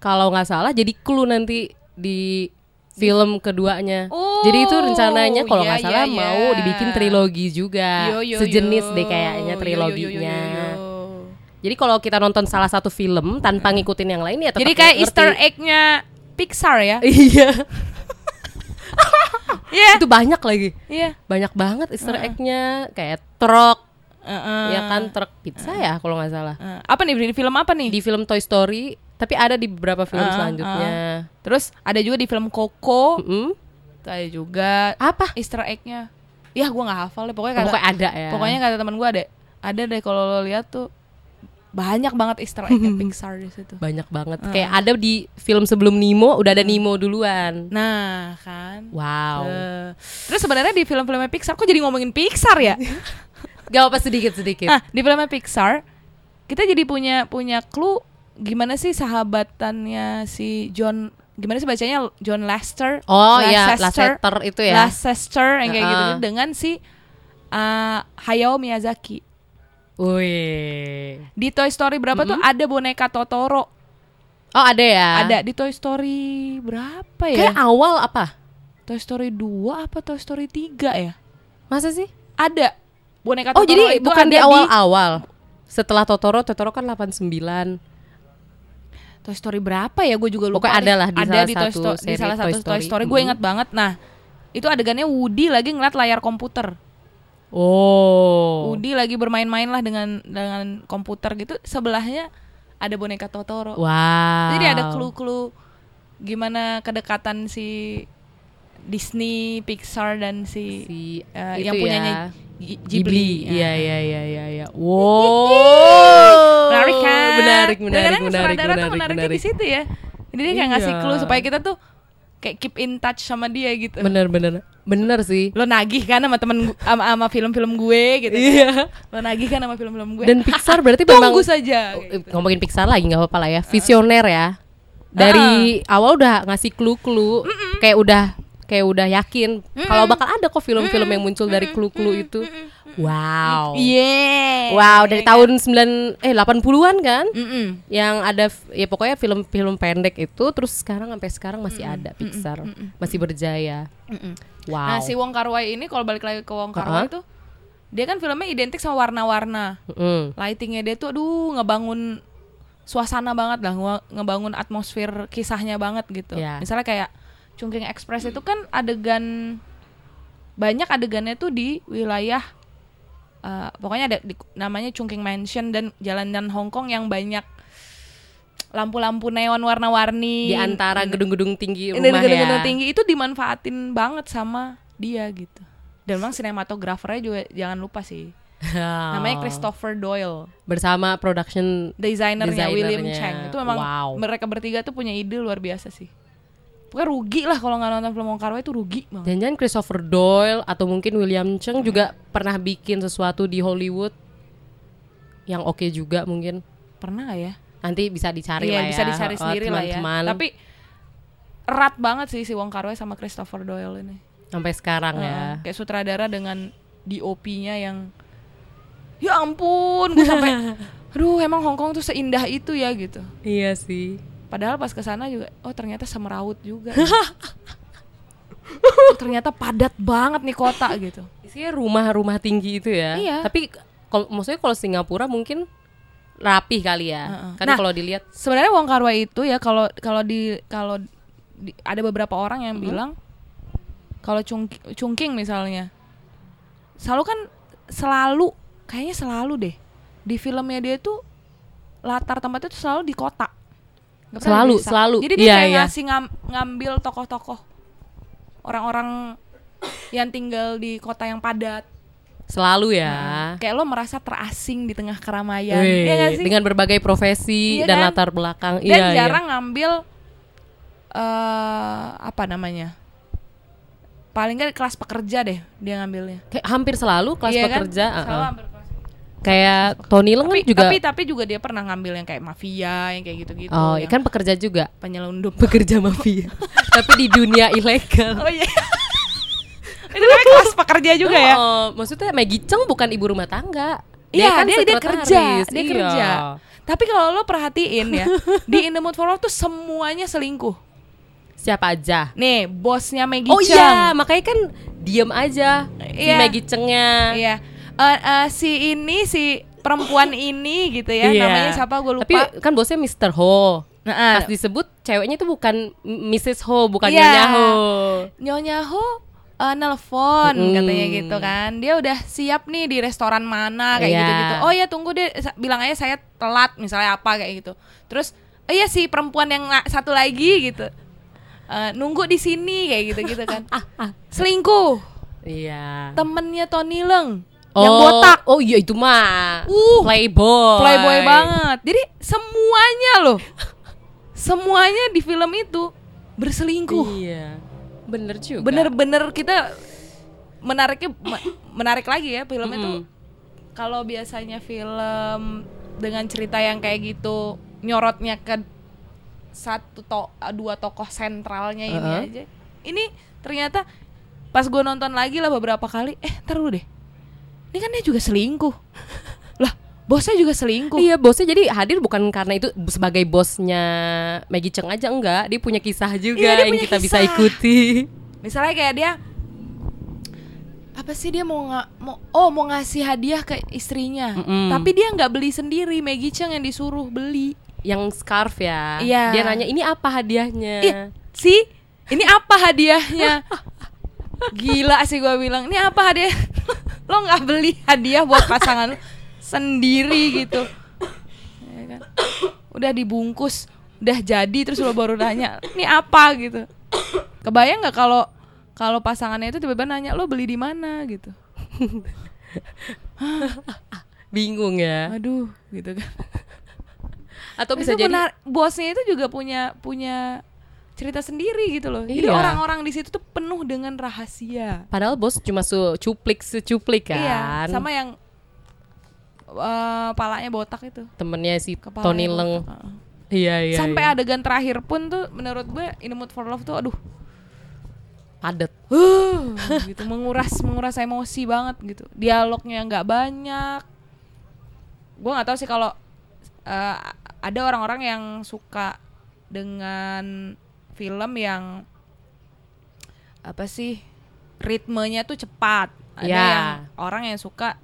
kalau nggak salah jadi clue nanti di film keduanya.
Oh,
jadi itu rencananya kalau
iya,
nggak salah
iya, iya.
mau dibikin trilogi juga,
Yo, yo,
sejenis
yo.
deh kayaknya
Yo, yo, yo, yo, yo,
triloginya.
yo. Hmm.
Jadi kalau kita nonton salah satu film tanpa ngikutin yang lain ya tetap
Jadi kayak
ngerti.
Easter egg-nya Pixar ya?
[laughs] Iya,
[laughs] Iya.
itu banyak lagi.
Iya.
Banyak banget Easter egg-nya kayak truk,
Heeh.
ya kan truk pizza ya kalau nggak salah.
Heeh. Apa nih di film apa nih?
Di film Toy Story, tapi ada di beberapa film
Heeh,
selanjutnya.
Terus ada juga di film Coco.
Mm-mm.
Itu ada juga
Apa?
Easter egg-nya. Ya gua nggak hafal deh pokoknya kata
Pokoknya ada ya.
pokoknya kata teman gua ada ada deh kalau lo lihat tuh banyak banget Easter egg
[laughs]
Pixar di situ.
banyak banget.
Ah.
Kayak ada di film sebelum Nemo udah ada Nemo duluan.
Nah, kan.
Wow.
Eh, Terus sebenarnya di film-filmnya Pixar kok jadi ngomongin Pixar
[laughs]
ya?
Gak apa sedikit sedikit.
Nah, di filmnya Pixar, kita jadi punya punya clue gimana sih sahabatannya si John gimana sih bacanya John Lester?
Oh iya, Lasseter itu ya.
Leicester yang kayak gitu
Heeh.
dengan si uh, Hayao Miyazaki.
Wih.
Di Toy Story berapa tuh
Mm-hmm.
ada boneka Totoro?
Oh ada ya.
Ada di Toy Story berapa ya?
Kayak awal apa?
Toy Story 2 apa Toy Story 3 ya?
Masa sih?
Ada boneka
Oh
Totoro
jadi
itu
bukan di
ada
awal-awal. Setelah Totoro, Totoro kan 89.
Toy Story berapa ya? Gue juga lupa.
Pokoknya
deh.
ada lah di
ada
salah
di, Toy
satu
Sto- di
seri
salah
Toy
satu Toy
Story.
Story. Gue
Mm.
ingat banget. Nah, itu adegannya Woody lagi ngeliat layar komputer.
Oh.
Woody lagi bermain-main lah dengan dengan komputer gitu. Sebelahnya ada boneka Totoro.
Wow.
Jadi ada clue-clue gimana kedekatan si Disney, Pixar dan si,
Si
eh,
itu
yang
ya.
punyanya G- Ghibli.
Ghibli.
Nah.
Iya iya iya iya iya. Wow.
menarik kan?
Menarik menarik
Kadang-kadang
menarik
sutradara tuh
menarik
menariknya
menarik.
di situ ya. Jadi dia kayak
Iya.
ngasih clue supaya kita tuh kayak keep in touch sama dia gitu.
Bener bener bener sih.
Lo nagih kan sama temen gu- sama, sama film-film gue gitu.
Iya.
Lo nagih kan sama film-film gue.
Dan Pixar berarti memang
Tunggu saja.
Eh, ngomongin Pixar lagi nggak apa-apa lah ya visioner ya dari awal udah ngasih clue-clue kayak udah kayak udah yakin kalau bakal ada kok film-film yang muncul dari clue-clue itu wow
Iya.
Oh. wow dari tahun 9 eh 80-an kan
Mm-mm.
yang ada f- ya pokoknya film-film pendek itu terus sekarang sampai sekarang masih ada Pixar masih berjaya
Mm-mm.
wow Uh-huh.
Nah si Wong Kar Wai ini kalau balik lagi ke Wong Kar Wai
Ha-ha.
tuh dia kan filmnya identik sama warna-warna.
Mm-mm.
Lightingnya dia tuh aduh ngebangun suasana banget lah, nge- ngebangun atmosfer kisahnya banget gitu.
Iya.
Misalnya kayak Cungkring Express itu kan adegan banyak adegannya tuh di wilayah eh, pokoknya ada di- namanya Chungking Mansion dan jalanan Hong Kong yang banyak lampu-lampu neon warna-warni
di antara gedung-gedung tinggi
dari
rumah
Iya. gedung-gedung
ya
tinggi itu dimanfaatin banget sama dia gitu dan memang sinematografernya juga jangan lupa sih
Oh.
Namanya Christopher Doyle,
bersama production
desainernya William
Desainernya.
Chang. Itu memang
Wow.
mereka bertiga tuh punya ide luar biasa sih. Pokoknya rugi lah kalau nggak nonton film Wong Kar Wai itu rugi banget.
jangan Christopher Doyle atau mungkin William Cheng juga pernah bikin sesuatu di Hollywood yang oke juga mungkin
Pernah nggak ya?
nanti bisa dicari lah
Iya,
ya
bisa dicari
Oh,
sendiri lah ya.
teman-teman.
Tapi erat banget sih si Wong Kar Wai sama Christopher Doyle ini.
sampai sekarang ya
Heeh, Kayak sutradara dengan DOP-nya yang ya ampun, gue sampai aduh emang Hong Kong tuh seindah itu ya gitu.
iya sih
Padahal pas ke sana juga oh ternyata semeraut juga. Oh, ternyata padat banget nih kota gitu.
isinya rumah-rumah tinggi itu ya
Iya.
tapi kalau maksudnya kalau Singapura mungkin rapih kali ya
Heeh.
kan
Nah,
kalau dilihat
Sebenarnya Wong Kar Wai itu ya kalau kalau di kalau di- ada beberapa orang yang
Mm-hmm.
bilang kalau Chung- Chungking misalnya selalu kan selalu kayaknya selalu deh di filmnya dia tuh latar tempatnya tuh selalu di kota. Nggak pernah di
Selalu,
desa.
selalu.
Jadi dia
Iya,
kayak
iya.
ngasih ngam- ngambil tokoh-tokoh orang-orang yang tinggal di kota yang padat.
selalu ya
Kayak lo merasa terasing di tengah
Wih,
keramaian. Nah. Iya nggak sih?
dengan berbagai profesi
Iya
dan
kan?
latar belakang
dan
iya iya.
jarang ngambil eh apa namanya paling nggak kelas pekerja deh dia ngambilnya
Kayak hampir selalu kelas
Iya kan?
pekerja
Selalu
uh-uh.
hampir kelas pekerja.
kayak Tony Leung
tapi,
kan juga
tapi tapi juga dia pernah ngambil yang kayak mafia yang kayak gitu-gitu
oh
yang
kan pekerja
[laughs]
juga
penyelundup
pekerja mafia [laughs] tapi di dunia ilegal
oh iya [laughs] itu namanya kelas pekerja juga ya
Oh, maksudnya Maggie Cheng bukan ibu rumah tangga
Iya,
kan
dia, dia, kerja,
sekretaris.
dia
Iya.
kerja. Tapi kalau lo perhatiin
[laughs]
ya, di In the Mood for Love tuh semuanya selingkuh.
siapa aja
Nih, bosnya Maggie
oh
Chang.
iya makanya kan diam aja si
Iya.
Maggie Chengnya
Iya. Eh, eh, si ini si
[laughs]
perempuan ini gitu ya.
Iya.
Namanya siapa gue lupa.
tapi kan bosnya Mr. Ho
Nah, ah,
pas disebut ceweknya itu bukan Mrs. Ho bukan
Iya.
Nyonya Ho
Nyonya Ho eh, nelpon
Mm.
katanya gitu kan. Dia udah siap nih di restoran mana kayak
Iya.
gitu-gitu. Oh ya tunggu deh Sa- bilang aja saya telat misalnya apa kayak gitu. Terus oh iya si perempuan yang la- satu lagi gitu. Eh, nunggu di sini kayak gitu-gitu
[laughs]
kan.
Ah,
Selingkuh
iya
temennya Tony Leng yang botak.
Oh iya itu mah.
Uh,
playboy.
playboy banget. Jadi semuanya loh, semuanya di film itu berselingkuh.
Iya. Bener juga.
Bener-bener kita menariknya ma- menarik lagi ya film itu. Kalau biasanya film dengan cerita yang kayak gitu nyorotnya ke satu to dua tokoh sentralnya ini
Uh-uh.
aja. Ini ternyata pas gue nonton lagi lah beberapa kali, eh ntar dulu deh. Ini kan dia juga selingkuh. lah, bosnya juga selingkuh.
Iya bosnya jadi hadir bukan karena itu sebagai bosnya Maggie Cheng aja enggak dia punya kisah juga
Iya, dia
yang
punya
kita bisa
kisah.
ikuti
misalnya kayak dia apa sih dia mau nga, mau oh mau ngasih hadiah ke istrinya
Mm-mm.
tapi dia nggak beli sendiri Maggie Chang yang disuruh beli
yang scarf ya
Iya.
dia nanya ini apa hadiahnya
ih si ini apa hadiahnya gila sih gua bilang ini apa hadiah [laughs] lo nggak beli hadiah buat pasangan lo sendiri gitu Ya kan? udah dibungkus udah jadi terus lo baru nanya ini apa gitu kebayang nggak kalau kalau pasangannya itu tiba-tiba nanya lo beli di mana gitu
bingung ya
aduh gitu kan
atau
Terus
bisa
itu
jadi
menar- bosnya itu juga punya punya cerita sendiri gitu loh jadi
Iya.
orang-orang di situ tuh penuh dengan rahasia
padahal bos cuma su cuplik secuplik kan
Iya, sama yang eh palanya botak itu.
temennya si
Kepalanya
Tony
botak,
Leng
heeh.
iya iya
Sampai
iya.
adegan terakhir pun tuh menurut gue In the Mood for Love tuh aduh,
padat
huh, [laughs] gitu menguras menguras emosi banget gitu. Dialognya nggak banyak. Gue nggak tahu sih kalau eh, ada orang-orang yang suka dengan film yang apa sih ritmenya tuh cepat. Ada
Ya.
yang orang yang suka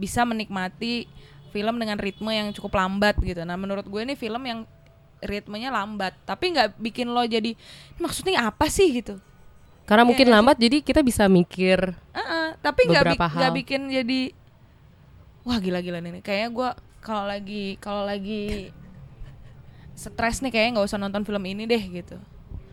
bisa menikmati film dengan ritme yang cukup lambat gitu. Nah, menurut gue ini film yang ritmenya lambat, tapi nggak bikin lo jadi maksudnya apa sih gitu.
karena mungkin lambat jadi kita bisa mikir
Heeh, tapi nggak bi-
Beberapa hal.
nggak bikin jadi wah gila-gila nih. Kayaknya gua kalau lagi kalau lagi stres nih kayaknya nggak usah nonton film ini deh gitu.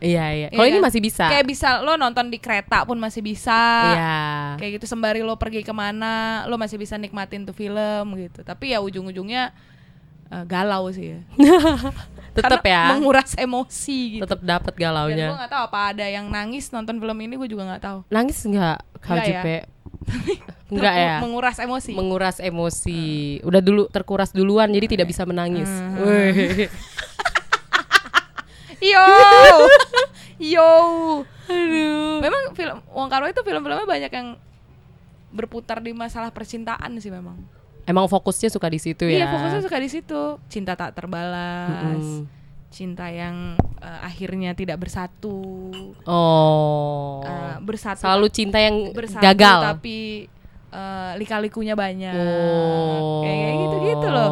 Iya iya. Kalau
Iya
ini
kan?
masih bisa.
Kayak bisa lo nonton di kereta pun masih bisa.
Iya.
Kayak gitu sembari lo pergi kemana, lo masih bisa nikmatin tuh film gitu. Tapi ya ujung-ujungnya eh, galau
[laughs]
sih ya.
Tetap
Karena
ya.
Menguras emosi gitu.
Tetap dapat
Dan gue
galaunya.
nggak tahu apa ada yang nangis nonton film ini gue juga nggak tahu.
Nangis enggak Kak
Nggak ya.
Jupe? [laughs] Enggak
Terus
ya.
Menguras Hmm. emosi.
Menguras emosi. Udah dulu terkuras duluan jadi
Iya.
tidak bisa menangis.
Hmm. [laughs]
Wih. [laughs]
Yo, yo. Memang film Wong Kar Wai itu film-filmnya banyak yang berputar di masalah percintaan sih memang.
Emang fokusnya suka di situ ya.
Iya fokusnya suka di situ. Cinta tak terbalas,
Mm-mm.
cinta yang eh, akhirnya tidak bersatu,
Oh.
Eh, bersatu
Selalu cinta yang
bersatu
gagal.
tapi eh, lika-likunya banyak.
Oh.
Kayak kayak gitu-gitu loh.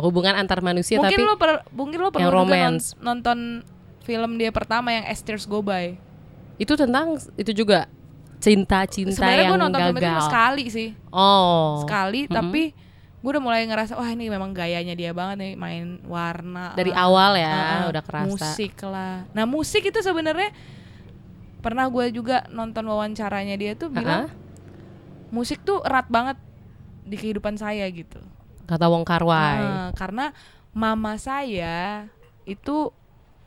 Hubungan antar manusia
mungkin
tapi
lo per, mungkin lo pernah
yang
juga non-
romance.
nonton film dia pertama yang Esther's Go By.
itu tentang itu juga cinta-cinta
Sebenarnya
yang
gue nonton film itu
gagal.
cuma sekali sih,
oh.
sekali. Tapi gue udah mulai ngerasa wah ini memang gayanya dia banget nih main warna
Dari
lah,
awal ya
ah,
udah kerasa.
Musik lah. Nah musik itu sebenarnya pernah gue juga nonton wawancaranya dia tuh bilang
Ah-ah.
musik tuh erat banget di kehidupan saya gitu.
Kata Wong Kar Wai.
Ah, karena mama saya itu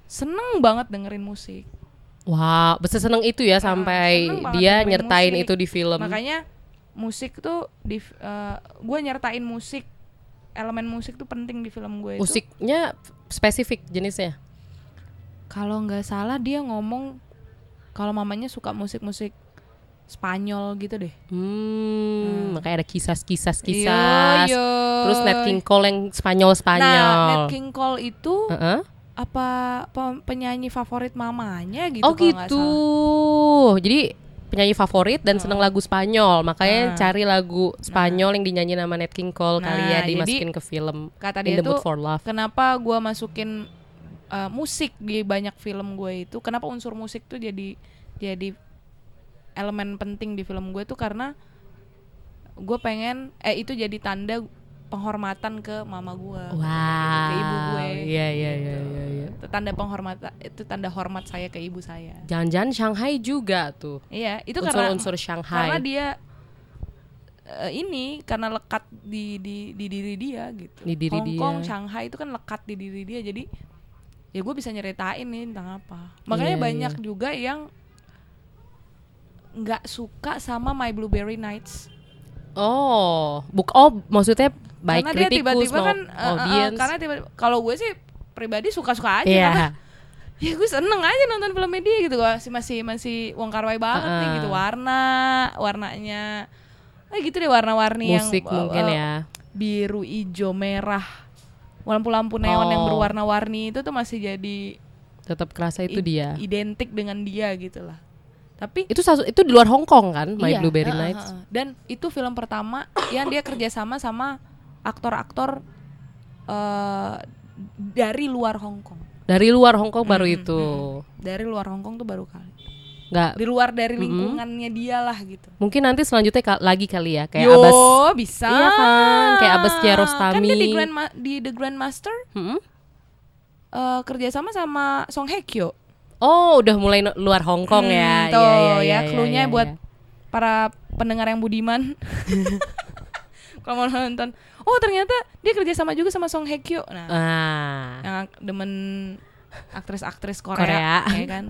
seneng banget dengerin musik.
Wah, bisa seneng itu ya sampai
seneng banget
dia
dengerin
nyertain
musik.
itu di film.
Makanya musik tuh di gue nyertain musik elemen musik tuh penting di film gue itu.
Musiknya spesifik jenisnya.
Kalau nggak salah dia ngomong kalau mamanya suka musik-musik Spanyol gitu deh.
Hmm, makanya ada kisah-kisah
Iya,
kisah.
iya.
Terus Nat King Cole yang Spanyol-Spanyol.
Nah, Nat King Cole itu
Heeh.
apa pe- penyanyi favorit mamanya gitu
oh
kalau nggak
gitu. Jadi penyanyi favorit dan seneng lagu Spanyol, makanya cari lagu Spanyol yang dinyanyi nama Nat King Cole kali ya
Nah, jadi
dimasukin ke film
salah. Kata
In
dia
the Mood
tuh
for Love.
kenapa gue masukin uh, musik di banyak film gue itu kenapa unsur musik tuh jadi jadi elemen penting di film gue tuh karena gue pengen eh itu jadi tanda penghormatan ke mama gue ke ibu gue gitu.
Iya iya iya iya. iya.
itu tanda penghormatan itu tanda hormat saya ke ibu saya
Jangan-jangan Shanghai juga tuh.
iya itu karena
Unsur-unsur
karena
Shanghai
dia eh, ini karena lekat di di di diri dia gitu.
Di diri
Hong Kong,
dia.
Shanghai itu kan lekat di diri dia. Jadi ya gue bisa nyeritain nih tentang apa. Makanya
Iya,
banyak juga yang nggak suka sama My Blueberry Nights.
Oh, buk oh maksudnya baik
karena dia
kritikus
tiba-tiba
mau
kan eh, eh, eh,
audience.
karena tiba kalau gue sih pribadi suka-suka aja [laughs]
Iya.
karena ya gue seneng aja nonton film dia gitu gue masih masih masih Wong Kar Wai banget nih
Heeh.
gitu warna warnanya eh gitu deh warna-warni yang
[laughs] Musik
eh,
mungkin
eh,
ya.
biru hijau merah lampu-lampu neon yang
Oh.
berwarna-warni itu tuh masih jadi
Tetap kerasa itu
i-
dia.
identik dengan dia gitu lah tapi
Itu sasu- itu di luar Hong Kong kan, My
iya,
Blueberry
heeh,
Nights.
heeh. dan itu film pertama [coughs] yang dia kerjasama sama aktor-aktor eh, dari luar Hong Kong
Dari luar Hong Kong baru itu.
dari luar Hong Kong tuh baru kali
Nggak
di luar dari lingkungannya dia lah gitu
mungkin nanti selanjutnya ka- lagi kali ya kayak
Yo,
Abbas.
bisa
Iya kan, kayak Abbas Kiarostami.
kan dia di Grand Ma- di The Grandmaster
Mm-mm.
eh, kerjasama sama Song Hye Kyo
Oh, udah mulai no- luar Hong Kong ya.
Hmm, Tuh ya,
iya,
cluenya buat para pendengar yang
[laughs]
budiman. Kalau mau nonton, oh ternyata dia kerja sama juga sama Song Hye Kyo. Nah,
Ah.
yang ak- demen aktris-aktris
Korea.
Korea, ya kan.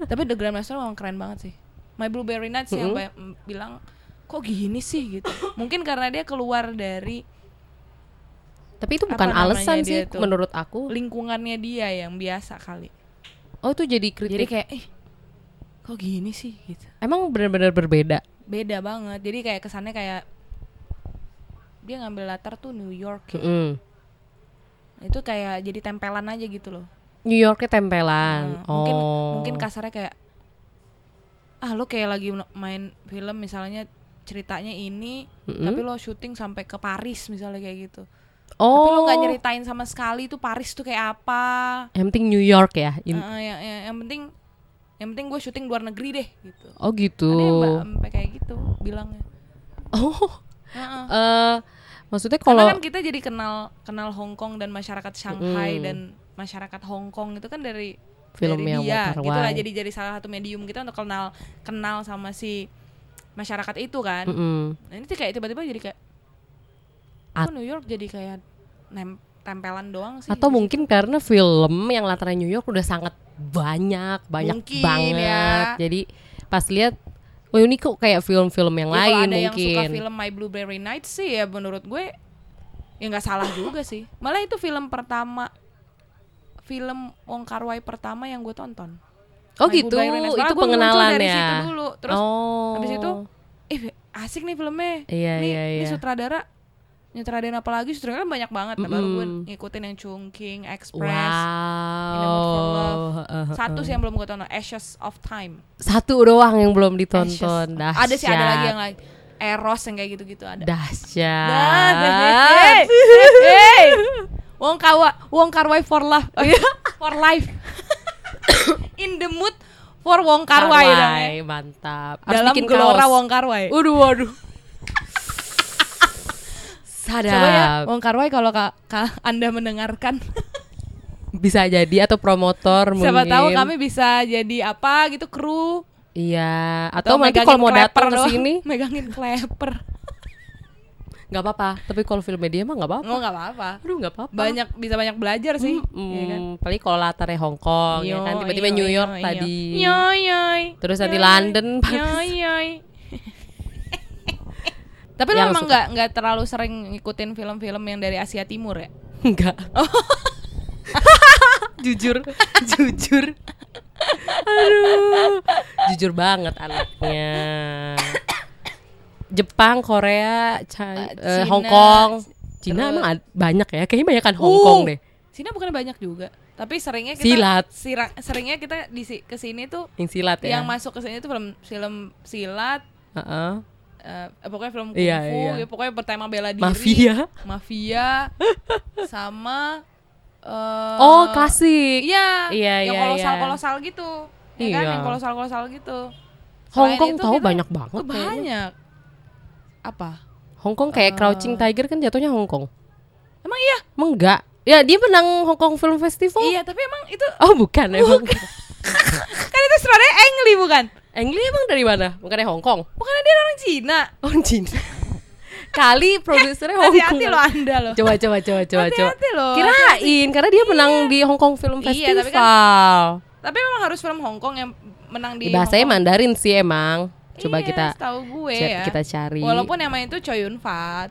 Nah, Tapi The Grandmaster memang keren banget sih. My Blueberry Nights yang ba- m- bilang kok gini sih gitu. Mungkin karena dia keluar dari
Tapi itu bukan
Apa namanya
alasan
dia
sih
tuh?
menurut aku.
lingkungannya dia yang biasa kali.
Oh, itu jadi kritik.
Jadi kayak eh kok gini sih gitu.
Emang benar-benar berbeda.
beda banget jadi kayak kesannya kayak dia ngambil latar tuh New York ya.
Mm-mm.
itu kayak jadi tempelan aja gitu loh
New Yorknya tempelan.
Nah, mungkin
oh.
mungkin kasarnya kayak ah lo kayak lagi no- main film misalnya ceritanya ini
Mm-mm.
tapi lo syuting sampai ke Paris misalnya kayak gitu
oh.
tapi lo nggak nyeritain sama sekali tuh Paris tuh kayak apa
Yang penting New York ya. In-
Ah, ya- ya- yang penting yang penting gue syuting luar negeri deh gitu
oh gitu.
ada yang ba- sampai kayak gitu bilangnya
[laughs] Oh.
Heeh.
Eh, maksudnya
Karena
kalau
kan kita jadi kenal kenal Hong Kong dan masyarakat Shanghai dan masyarakat Hong Kong itu kan dari
film
dari
yang
dia
Mutar
gitu lah
Wai.
jadi jadi salah satu medium kita untuk kenal kenal sama si masyarakat itu kan
Mm-mm.
nah, ini tuh kayak tiba-tiba jadi kayak
At-
kok New York jadi kayak nem- tempelan doang sih
Atau mungkin karena film yang latarnya New York udah sangat banyak, banyak
Mungkin,
banget.
ya.
Jadi pas lihat, oh ini kok kayak film-film yang
Ya, kalau
lain
ada yang
mungkin.
suka film My Blueberry Night sih ya menurut gue ya nggak salah juga sih malah itu film pertama film Wong Kar Wai pertama yang gue tonton
oh
My
gitu,
Blueberry Night. Malah
itu
gue muncul
pengenalan
dari
ya.
situ dulu terus
oh.
habis itu eh asik nih filmnya
Iya,
nih,
iya,
nih
iya.
sutradara nyutradarain apa lagi sutradara kan banyak banget nah, baru gue
Mm-mm.
ngikutin yang Chungking Express In the Mood for Love.
wow.
satu sih yang belum gue tonton Ashes of Time
Uh-huh. Satu doang yang belum
Ashes
ditonton.
of-
Dahsyat.
ada sih ada lagi yang lain Eros yang kayak gitu-gitu ada
Dahsyat.
Hey,
[laughs]
hey. Wong kawa, Wong Karwai for love, Oh, iya. for
[laughs]
life. In the mood for Wong Karwai. namanya.
mantap. Harus
ya. Dalam
bikin
gelora
kaos.
Wong Karwai.
Waduh, waduh. Sadap.
Coba ya Wong Karwai kalau ka- ka- Anda mendengarkan, [laughs]
Bisa jadi atau promotor mungkin.
siapa tahu kami bisa jadi apa gitu kru.
Iya, atau, nanti
megangin
kalau mau
clapper
datang ke
doang.
sini
[laughs] megangin clapper.
nggak apa-apa. Tapi kalau film media mah nggak apa-apa.
Oh nggak apa-apa.
Aduh, nggak apa-apa.
Banyak bisa banyak belajar sih.
Hmm,
Iya kan?
paling kalau latarnya Hong Kong ya kan tiba-tiba New York tadi.
Yoy, yoy.
Terus nanti
Yoy,
London, Paris.
Yoy,
[laughs]
yoy. Tapi lo
Yang
emang
suka.
nggak nggak terlalu sering ngikutin film-film yang dari Asia Timur ya? [laughs]
Enggak. jujur, jujur. Aduh. Jujur banget anaknya. Jepang, Korea, Ca-
Eh,
eh,
Cina.
Hong Kong. Cina
Terus-
emang ad- banyak ya. Kayaknya banyak kan Hong Kong
Uh,
deh.
Sini bukan banyak juga, tapi seringnya kita
Silat.
sira- seringnya kita di si- ke sini tuh
Yang silat ya.
yang masuk ke sini tuh film film silat,
Heeh.
eh, pokoknya film kungfu,
Iya, iya.
ya, pokoknya bertema bela diri,
Mafia. [laughs]
mafia, sama eh,
Oh, klasik.
Iya,
Iya,
yang
iya,
kolosal
iya.
kolosal gitu, ya kan?
Iya.
Yang kolosal kolosal gitu.
Hong
Selain
Kong
itu
tahu
kita-
banyak banget.
Oh,
kayaknya.
banyak. Eh. Apa?
Hong Kong kayak Crouching Tiger kan jatuhnya Hong Kong.
Emang iya?
Emang enggak? Ya dia menang Hong Kong Film Festival.
Iya, tapi emang itu [laughs]
Oh bukan emang.
kan itu sebenarnya Engli bukan?
Ang Lee emang dari mana? Bukannya Hong Kong?
Bukan dia orang Cina.
Oh Cina. Kali produsernya Hong Kong.
Eh, Hati-hati lo Anda lo.
Coba coba coba coba coba.
Hati-hati loh.
Kirain karena dia menang di Hong Kong Film
Iya,
Festival.
tapi kan Tapi memang harus film Hong Kong yang menang di
Bahasanya
Hong Kong.
Mandarin sih emang. Coba
Iya,
kita
setahu gue
ca-
ya.
kita cari.
Walaupun yang main itu Choi Yun Fat.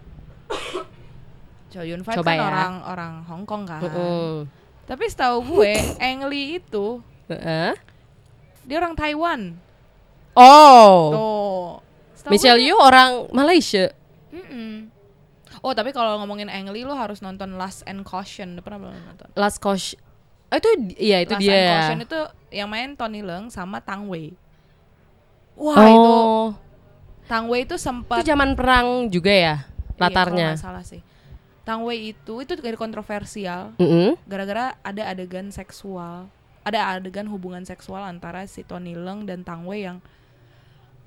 Choi Yun Fat
Coba
kan
ya.
orang orang Hong Kong kan.
Mm-mm.
Tapi setahu gue Eng Lee itu
Heeh.
dia orang Taiwan.
Oh,
Tuh. Setahu
Michelle
gue-
Yeoh orang Malaysia.
Mm-mm. Oh tapi kalau ngomongin Ang Lee lo harus nonton Last and Caution. Lo Pernah belum nonton?
Last Kosh. Oh, itu iya itu
Last
dia.
and Caution itu yang main Tony Leung sama Tang Wei. Wah itu
oh,
Tang Wei itu sempat
itu zaman perang juga ya
Iya, kalau
latarnya.
nggak salah sih. Tang Wei itu itu dari kontroversial
Mm-mm.
gara-gara ada adegan seksual ada adegan hubungan seksual antara si Tony Leung dan Tang Wei yang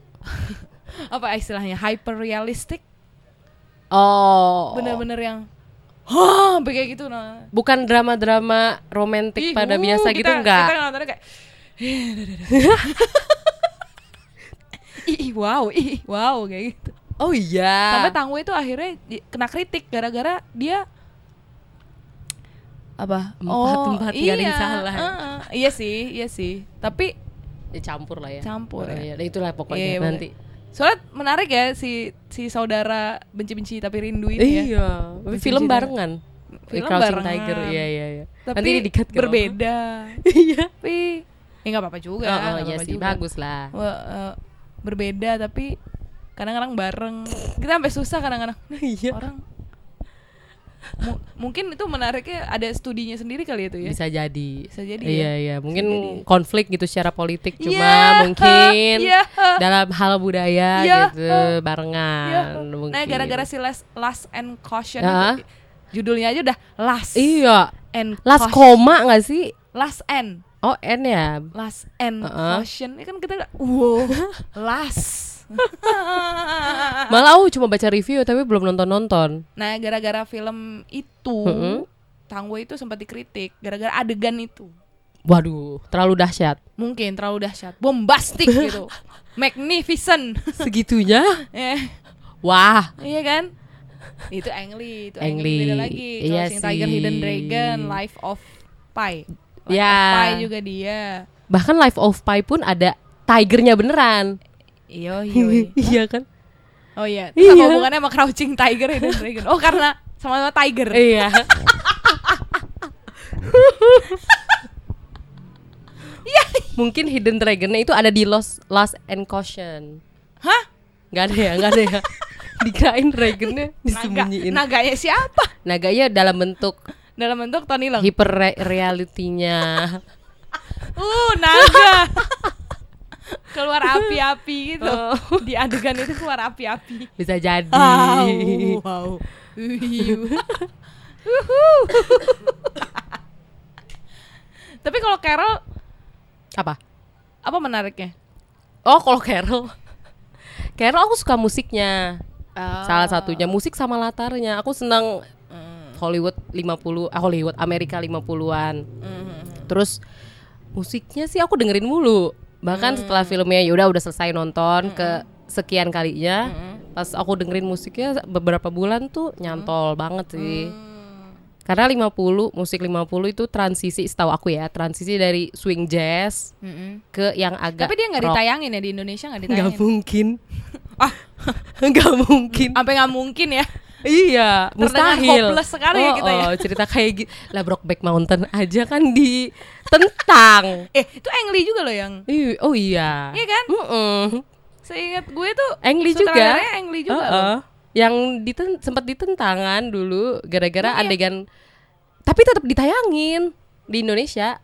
[laughs] apa istilahnya hyper realistic
Oh,
bener-bener yang hah sampai kayak gitu nah
bukan drama-drama romantis
Ih,
pada
uh,
biasa
kita-
gitu enggak?
kita nontonnya kayak [laughs] ih ih, wow ih ih, wow kayak gitu
Oh iya.
sampai Tang Wei itu akhirnya di- kena kritik gara-gara dia apa
Empat, empat, nggak ada yang salah.
eh, iya sih iya sih tapi
Ya, campur lah ya. Oh,
Campur ya.
iya. Nah, itulah pokoknya
Iya, iya,
nanti.
soalnya menarik ya si si saudara benci-benci tapi rindu ini ya
Iya. Film
Benci-benci
barengan.
Film
Crouching
barengan.
Tiger. Iya iya iya.
tapi
nanti ini di-cut ke
[laughs]
bawah.
berbeda
Iya.
tapi ya nggak apa-apa juga
Oh, oh,
nggak
iya
apa-apa
sih
juga.
bagus lah.
Wah, eh, berbeda tapi kadang-kadang bareng kita sampai susah kadang-kadang [laughs]
Iya.
orang Mu- mungkin itu menariknya ada studinya sendiri kali itu ya
Bisa jadi.
Bisa jadi
Iya
ya.
iya. Mungkin
Bisa jadi.
konflik gitu secara politik cuma
[laughs] Iya,
mungkin
iya.
dalam hal budaya
Iya.
gitu barengan
Iya.
mungkin.
Nah, gara-gara si last, last and caution
Ah.
itu, judulnya aja udah last
Iya.
and
Last
caution.
koma nggak sih?
last and
Oh N ya.
last and
Uh-uh.
caution ini kan kita udah,
[laughs]
wow last. Ah,
Malah aku cuma baca review tapi belum nonton nonton.
nah, gara-gara film itu
Mm-mm.
Tang Wei itu sempat dikritik gara-gara adegan itu.
Waduh, terlalu dahsyat.
Mungkin terlalu dahsyat, bombastik
[laughs]
gitu. Magnificent. [laughs]
Segitunya?
eh,
Wah,
iya kan? Itu Ang Lee, itu
Ang
Ang Lee beda
Lee,
lagi.
iya
Crouching Tiger,
sih.
Hidden Dragon, Life of Pi. Life
Ya.
of Pi juga dia.
bahkan Life of Pi pun ada tigernya beneran.
[laughs] Iyo, iyo. iyo.
iya kan?
Oh iya, terus
Iya.
apa hubungannya sama Crouching Tiger
[laughs]
Hidden Dragon? Oh karena sama-sama Tiger.
Iya. Mungkin hidden dragonnya itu ada di Lost, Lost and Caution.
Hah?
Gak ada ya, gak ada ya. Dikirain dragonnya
Naga,
disembunyiin.
naganya siapa?
Naganya dalam bentuk
Dalam bentuk Tony Leung.
hyper re- realitinya.
Uh,
[laughs]
naga. keluar api-api gitu.
Oh.
Di adegan itu keluar api-api.
Bisa jadi.
Au, au. Uhiu. Uhuh. Tapi kalau Carol
Apa?
apa menariknya?
Oh, kalau Carol. [laughs] Carol aku suka musiknya.
Ah.
Salah satunya musik sama latarnya. Aku senang
Hmm.
Hollywood 50 ah, Hollywood Amerika 50-an.
Hmm.
Terus musiknya sih aku dengerin mulu.
Hmm.
Bahkan setelah filmnya yaudah udah selesai nonton ke sekian kalinya,
Hmm.
pas aku dengerin musiknya beberapa bulan tuh nyantol banget sih.
Hmm.
Karena 50 musik 50 itu transisi setahu aku ya, transisi dari swing jazz ke yang agak
Tapi dia nggak
rock.
ditayangin ya di Indonesia nggak
Nggak
ditayangin.
mungkin.
[laughs] Ah.
[laughs] Nggak mungkin.
Sampai nggak mungkin ya.
Iya,
Terdengar
mustahil.
hopeless sekali ya
oh,
kita ya.
oh, cerita kayak gitu. Lah Brokeback Mountain aja kan ditentang.
Eh, itu Ang Lee juga loh yang.
Ih, Oh iya.
Iya kan?
Mm-mm.
Seingat gue tuh
Ang Lee juga.
sutradaranya Ang Lee juga. loh.
Uh-uh. Yang diten sempat ditentangan dulu gara-gara
Iya.
adegan tapi tetap ditayangin di Indonesia.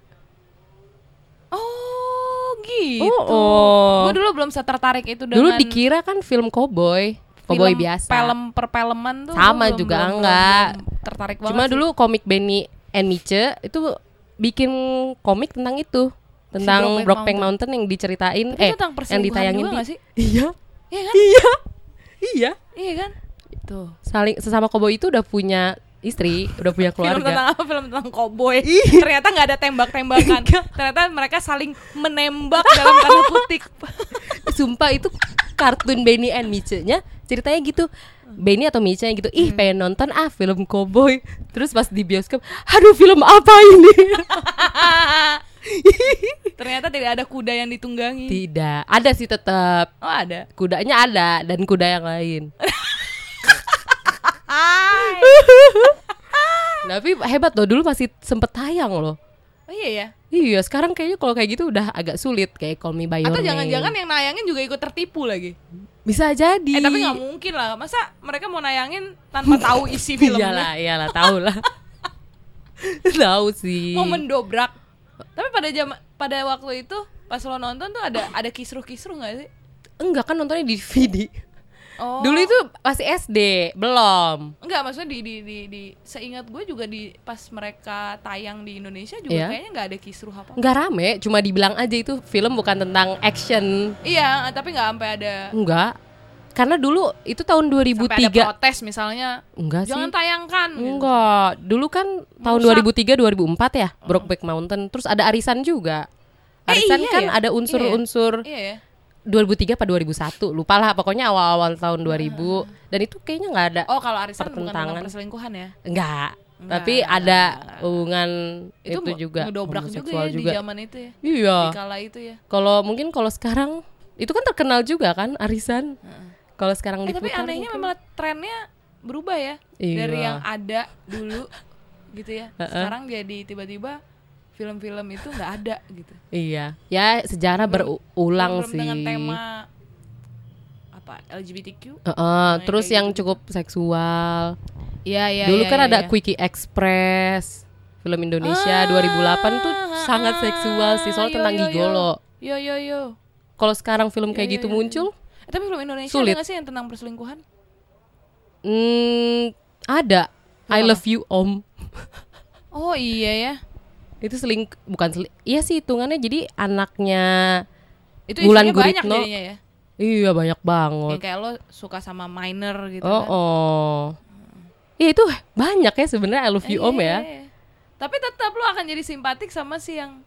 Oh, gitu.
Oh, oh.
Gue dulu belum setertarik itu dengan
Dulu dikira kan film koboi, koboi
film
biasa.
Film perpeleman tuh.
Sama
gua belum-
juga
belum-
enggak.
belum tertarik banget.
Cuma
sih.
dulu komik Benny and Miche itu bikin komik tentang itu tentang
Brokeback
Brokeback
Mountain.
Mountain. yang diceritain
Tapi itu
eh
tentang
yang
perselingkuhan
ditayangin
juga
di
nggak sih?
iya
Iya kan?
iya iya
Iya kan? Tuh.
saling sesama koboi itu udah punya istri udah
[laughs]
punya
Film tentang
keluarga
apa? Film tentang koboi. Ternyata nggak ada tembak-tembakan. Ternyata mereka saling menembak dalam tanda
[laughs]
kutip.
sumpah itu kartun Benny and Miche nya ceritanya gitu
Hmm.
Benny atau Miche nya gitu ih pengen nonton ah film koboi terus pas di bioskop aduh film apa
[laughs]
ini
Ternyata tidak ada kuda yang ditunggangi.
tidak ada sih tetap
Oh ada.
kudanya ada dan kuda yang lain
Hai.
Tapi hebat loh dulu masih sempet tayang loh.
Oh iya ya.
Iya, sekarang kayaknya kalau kayak gitu udah agak sulit kayak Call Me By Your
Atau
Name.
jangan-jangan yang nayangin juga ikut tertipu lagi.
bisa jadi.
Eh tapi nggak mungkin lah. Masa mereka mau nayangin tanpa tahu isi filmnya?
Iyalah, iyalah, tahu Iya lah. [laughs] tahu sih.
Mau mendobrak. Tapi pada jam pada waktu itu pas lo nonton tuh ada ada kisruh-kisruh nggak sih?
Enggak kan nontonnya di DVD.
Oh.
Dulu itu masih SD, belum.
Enggak, maksudnya di di di, di- seingat gue juga di pas mereka tayang di Indonesia juga
Iya.
kayaknya nggak ada kisruh apa.
Enggak rame, cuma dibilang aja itu film bukan tentang action.
Iya, tapi nggak sampai ada
Enggak. Karena dulu itu tahun
sampai ada
2003.
protes misalnya.
Enggak sih.
Jangan tayangkan. gitu.
Enggak, dulu kan tahun 2003 2004 ya, Brokeback Mountain. Terus ada arisan juga.
Eh,
Arisan
iya
kan
ya?
ada unsur-unsur
Iya ya.
2003 apa 2001, lupa lah pokoknya awal-awal
Ah.
tahun 2000 dan itu kayaknya nggak ada.
Oh, kalau arisan bukan tentang
Pertentangan.
perselingkuhan ya.
Enggak.
Enggak,
Tapi
enggak,
ada
enggak.
hubungan itu,
Itu,
juga
ngedobrak juga
homoseksual
ya di zaman itu ya.
Iya.
Di kala itu ya.
Kalau mungkin kalau sekarang itu kan terkenal juga kan arisan. Kalau sekarang
Eh, tapi
diputar
anehnya
mungkin.
memang trennya berubah ya
Iya.
dari yang ada dulu gitu ya sekarang jadi tiba-tiba film-film itu nggak ada gitu
Iya. Ya sejarah berulang
Film-film
sih.
dengan tema apa LGBTQ
Heeh, terus yang
gitu.
cukup seksual.
Iya iya
Dulu
iya,
kan
iya,
ada
iya.
Quickie Express, film Indonesia 2008 tuh sangat seksual sih soal
Ah,
tentang
yo, yo, yo.
gigolo.
yo yo yo
Kalau sekarang film kayak
Iya,
gitu
iya, iya.
muncul,
Eh, tapi film Indonesia
Sulit.
ada nggak sih yang tentang perselingkuhan
hmm, ada I Love You Om.
oh iya ya
Itu seling bukan seling, iya sih hitungannya jadi anaknya
itu
Wulan
isinya banyak
Guritno.
jadinya ya
iya banyak banget.
yang kayak lo suka sama minor gitu
Oh,
kan.
oh. Iya itu banyak ya sebenarnya I Love You
Iya,
Om
iya,
ya.
iya. tapi tetap lo akan jadi simpatik sama si yang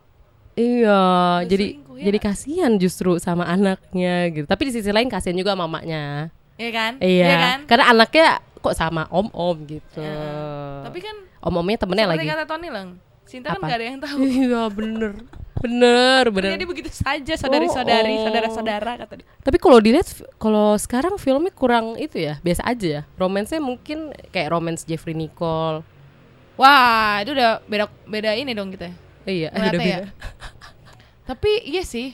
Iya,
Udah
jadi
selingkuh, ya
jadi kasihan justru sama anaknya gitu. Tapi di sisi lain kasihan juga mamanya.
Iya kan?
Iya.
kan?
Karena anaknya kok sama om-om gitu.
Ya. Tapi kan
om-omnya temennya
seperti
lagi. [laughs]
kata Tony lang, Cinta
Apa?
kan gak ada yang tahu.
Iya, bener. Bener, bener.
Jadi begitu saja saudari-saudari,
Oh, oh.
saudara-saudara kata dia.
Tapi kalau dilihat kalau sekarang filmnya kurang itu ya, biasa aja ya. Romance-nya mungkin kayak romance Jeffrey Nicole.
Wah, itu udah beda beda ini dong kita.
Iya, eh,
Ngeliatnya
udah
ya.
beda.
Tapi iya sih.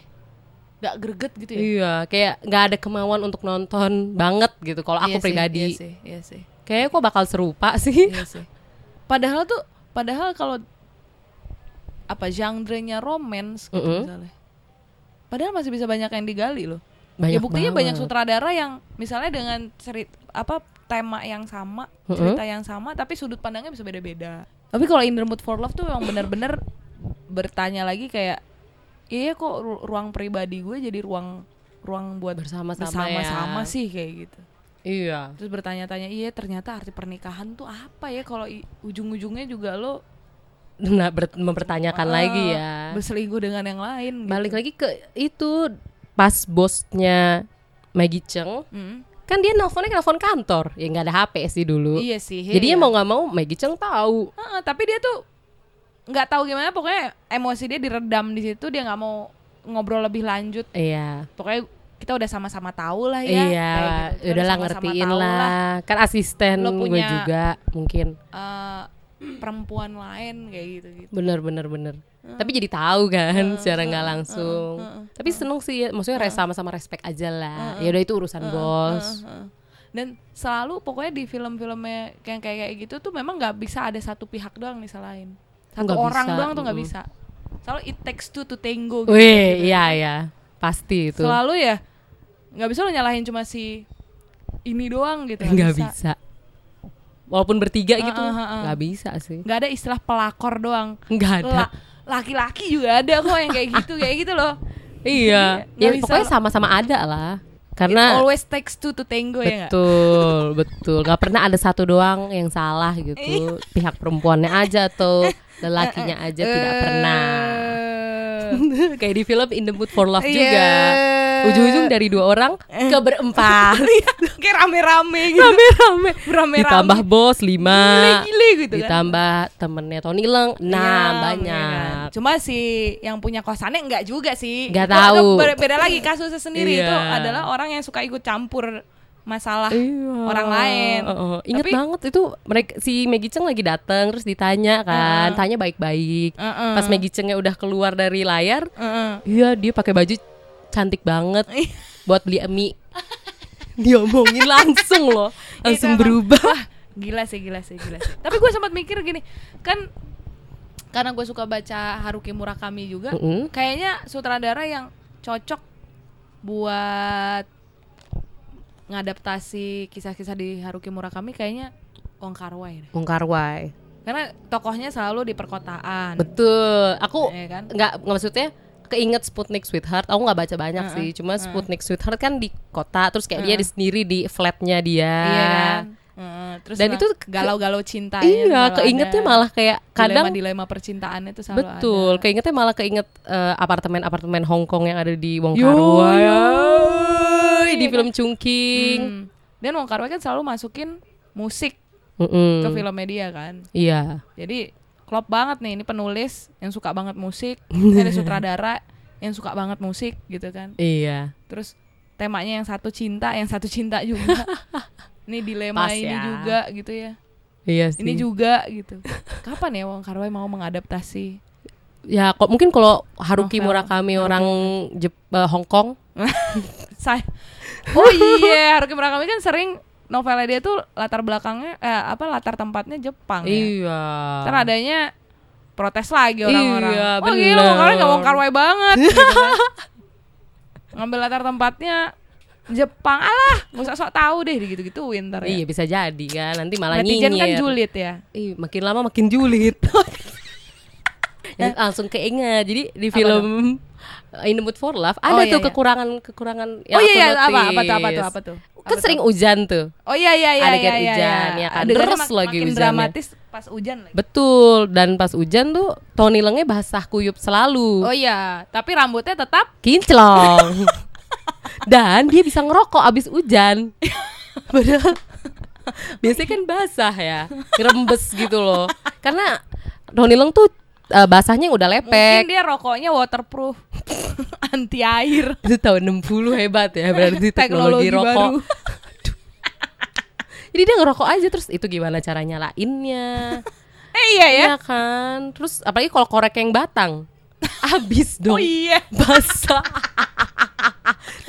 Gak greget gitu ya.
Iya, kayak nggak ada kemauan untuk nonton banget gitu. Kalau aku
Iya sih,
pribadi,
iya sih, iya sih.
kayaknya kok bakal serupa sih.
[laughs] Iya sih. Padahal tuh, padahal kalau apa genre-nya romance gitu
Mm-mm.
misalnya. Padahal masih bisa banyak yang digali loh. ya
Banyak
buktinya banyak
banget.
sutradara yang misalnya dengan cerita apa tema yang sama, cerita yang sama tapi sudut pandangnya bisa beda-beda. Tapi kalau In the Mood for Love tuh [coughs] memang benar-benar bertanya lagi kayak iya kok ru- ruang pribadi gue jadi ruang ruang buat
Bersama-sama
bersama-sama
ya."
sih kayak gitu
Iya.
terus bertanya-tanya iya ternyata arti pernikahan tuh apa ya kalau i- ujung-ujungnya juga lo
Nah, ber- mempertanyakan
eh,
lagi ya.
berselingkuh dengan yang lain gitu.
Balik lagi ke itu pas bosnya Maggie Cheng,
Mm.
kan dia nelfonnya ke nelfon kantor. Ya nggak ada HP sih dulu.
iya sih
Jadinya
iya.
mau nggak mau Maggie Cheng tahu.
Heeh, tapi dia tuh nggak tahu gimana pokoknya emosi dia diredam di situ dia nggak mau ngobrol lebih lanjut
Iya.
pokoknya kita udah sama-sama tahu lah ya
Iya,
kayak gitu. Kita
udah lah
sama-sama
ngertiin
tahu
lah. Kan asisten
Lo
gue
punya-
juga mungkin.
eh, perempuan lain kayak gitu gitu
Bener bener bener. Tapi jadi tahu kan secara nggak langsung. Tapi seneng sih, ya, maksudnya res- sama-sama respect aja lah. ya udah itu urusan bos.
Heeh. dan selalu pokoknya di film-filmnya kayak kayak kayak gitu tuh memang nggak bisa ada satu pihak doang disalahin satu
Nggak
orang
bisa,
doang tuh nggak
mm.
bisa selalu it takes two to tango gitu,
Wih, iya ya, pasti itu.
selalu ya nggak bisa lo nyalahin cuma si ini doang gitu
Nggak bisa. Walaupun bertiga gitu,
Heeh, heeh.
nggak bisa sih.
nggak ada istilah pelakor doang
Nggak ada.
La- laki-laki juga ada kok yang kayak gitu kayak gitu loh
iya.
Nggak
Ya
bisa.
pokoknya sama-sama ada lah.
It
Karena
always takes two to
iya
tango ya
Nah.
nggak
betul betul nggak pernah ada satu doang yang salah gitu pihak perempuannya aja [laughs] atau lelakinya aja tidak pernah eh, [laughs]
Eh,
kayak di film In the Mood for Love juga
Iya.
ujung-ujung dari dua orang ke [laughs] berempat Iya,
kayak rame-rame gitu
rame-rame
Rame-rame.
ditambah bos lima
gile gitu kan
ditambah temennya Tony Leng enam
Iya,
Nah, banyak
iya kan. Cuma si yang punya kosannya enggak juga sih.
Nggak
Itu-
tahu.
itu ber- Beda lagi kasusnya sendiri
Iya.
itu adalah orang yang suka ikut campur masalah
Iya.
orang lain.
Heeh. eh. Ingat
Tapi-
banget itu mereka si Maggie Cheng lagi datang terus ditanya
Ah.
kan, tanya baik-baik.
Heeh.
Pas Maggie Chengnya udah keluar dari layar,
Heeh. [laughs]
iya dia pakai baju cantik banget buat beli
[laughs]
mie. Diomongin langsung loh, langsung
Itu Iya, emang-
berubah.
Wah, gila sih, gila sih, gila sih. Tapi gue sempat mikir gini, kan karena gue suka baca Haruki Murakami juga,
Mm-mm.
kayaknya sutradara yang cocok buat ngadaptasi kisah-kisah di Haruki Murakami kayaknya Wong Kar Wai deh.
Wong Kar Wai.
Karena tokohnya selalu di perkotaan.
Betul. Aku
Iya kan?
nggak nggak maksudnya keinget Sputnik Sweetheart. Aku nggak baca banyak
Ah,
sih. Cuma Sputnik Sweetheart kan di kota, terus kayak dia di sendiri di flatnya dia.
Iya kan? Heeh, terus
Dan
lah,
itu ke-
galau-galau cintanya
Iya,
selalu
keingetnya
ada.
malah kayak kadang
dilema-dilema percintaannya itu selalu
betul,
ada.
keingetnya malah keinget eh, apartemen-apartemen Hong Kong yang ada di Wong
Yo,
Kar Wai.
yo.
Ay, di film Chungking.
Hmm. Dan Wong Kar Wai kan selalu masukin musik
Mm-mm.
ke filmnya dia kan.
Iya.
Jadi klop banget nih ini penulis yang suka banget musik,
[laughs]
ini sutradara yang suka banget musik gitu kan.
Iya.
Terus temanya yang satu cinta, yang satu cinta
[laughs]
juga. ini dilema
Pas
ini
ya.
juga gitu ya.
Iya sih.
Ini juga gitu. Kapan ya Wong Kar Wai mau mengadaptasi?
ya kok mungkin kalau Haruki
Novel.
Murakami orang Jep- eh, Hong Kong [laughs]
Saya Oh iya, Haruki Murakami kan sering novelnya dia tuh latar belakangnya eh, apa latar tempatnya Jepang ya.
Iya.
Ntar adanya protes lagi orang-orang.
Iya,
oh gila,
bener.
orang nggak mau karwai
[laughs]
banget. gitu kan. Ngambil latar tempatnya Jepang alah, nggak usah sok tahu deh gitu-gituin ntar
Iya
ya.
bisa jadi kan nanti malah
Netizen kan
nyinyir.
julid ya.
Ih, makin lama makin
[laughs]
julid. Jadi langsung keinget. Jadi di film In the Mood for Love ada
Oh, iya,
tuh
iya.
kekurangan-kekurangan yang
oh iya,
aku
iya, apa
notice.
apa tuh apa tuh apa tuh?
kan sering hujan tuh.
Oh iya iya iya
Adegan
iya, iya,
hujan,
iya.
ya kan?
Adegannya
Deres
mak-
lagi
makin
hujannya.
dramatis pas hujan lagi.
Betul, dan pas hujan tuh Tony Lengnya basah kuyup selalu.
Oh iya, tapi rambutnya tetap [laughs]
Kinclong. dan dia bisa ngerokok abis
[laughs]
hujan. Padahal biasanya kan basah ya, rembes gitu loh. Karena Tony Leng tuh eh, basahnya yang udah
mungkin
lepek.
dia rokoknya waterproof. [laughs] Anti air.
Itu tahun 60 hebat ya, berarti teknologi,
Teknologi
rokok.
baru.
Jadi dia ngerokok aja terus itu gimana cara nyalainnya.
Eh iya [laughs] ya.
Iya kan. Terus apalagi kalau korek yang
[laughs]
batang. Abis dong.
Oh iya.
Basah.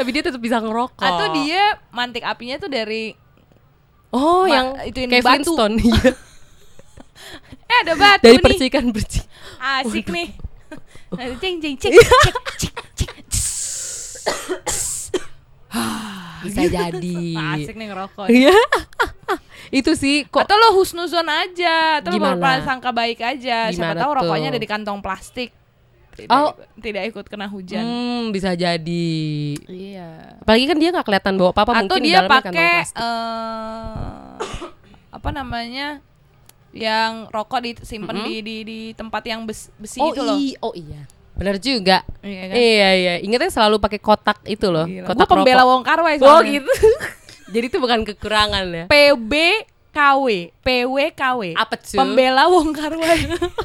Tapi dia tetap bisa ngerokok.
Atau dia mantik apinya tuh dari
Oh,
Ma-
yang
itu yang
kayak
batu. [laughs]
Flintstone iya.
eh ada batu
Dari
nih.
percikan percikan.
Asik nih. Nanti ceng ceng ceng
Iya.
ceng ceng ceng.
Bisa jadi.
Ah, Asik nih ngerokok.
Iya. itu sih kok
Atau lo husnuzon aja, atau
Gimana?
lo prasangka baik aja. Siapa
Gimana
tahu
tuh?
rokoknya ada di kantong plastik. Tidak,
Oh.
tidak ikut kena hujan.
hmm, bisa jadi.
Iya.
Apalagi kan dia nggak kelihatan bawa apa-apa
Atau
mungkin di
dia
dalamnya kan, kantong
pakai
plastik.
eh [coughs] apa namanya? yang rokok disimpan di, di di tempat yang bes- besi
oh,
itu loh.
i- oh iya. Bener juga.
Iya kan?
Iya iya, ingatnya selalu pakai kotak itu loh,
Gue
kotak
pembela
rokok.
Wong Karwai
Oh
soalnya.
gitu. [laughs] Jadi itu bukan kekurangan ya.
PBKW, PWKW.
Apa tuh?
Pembela Wong Karwai.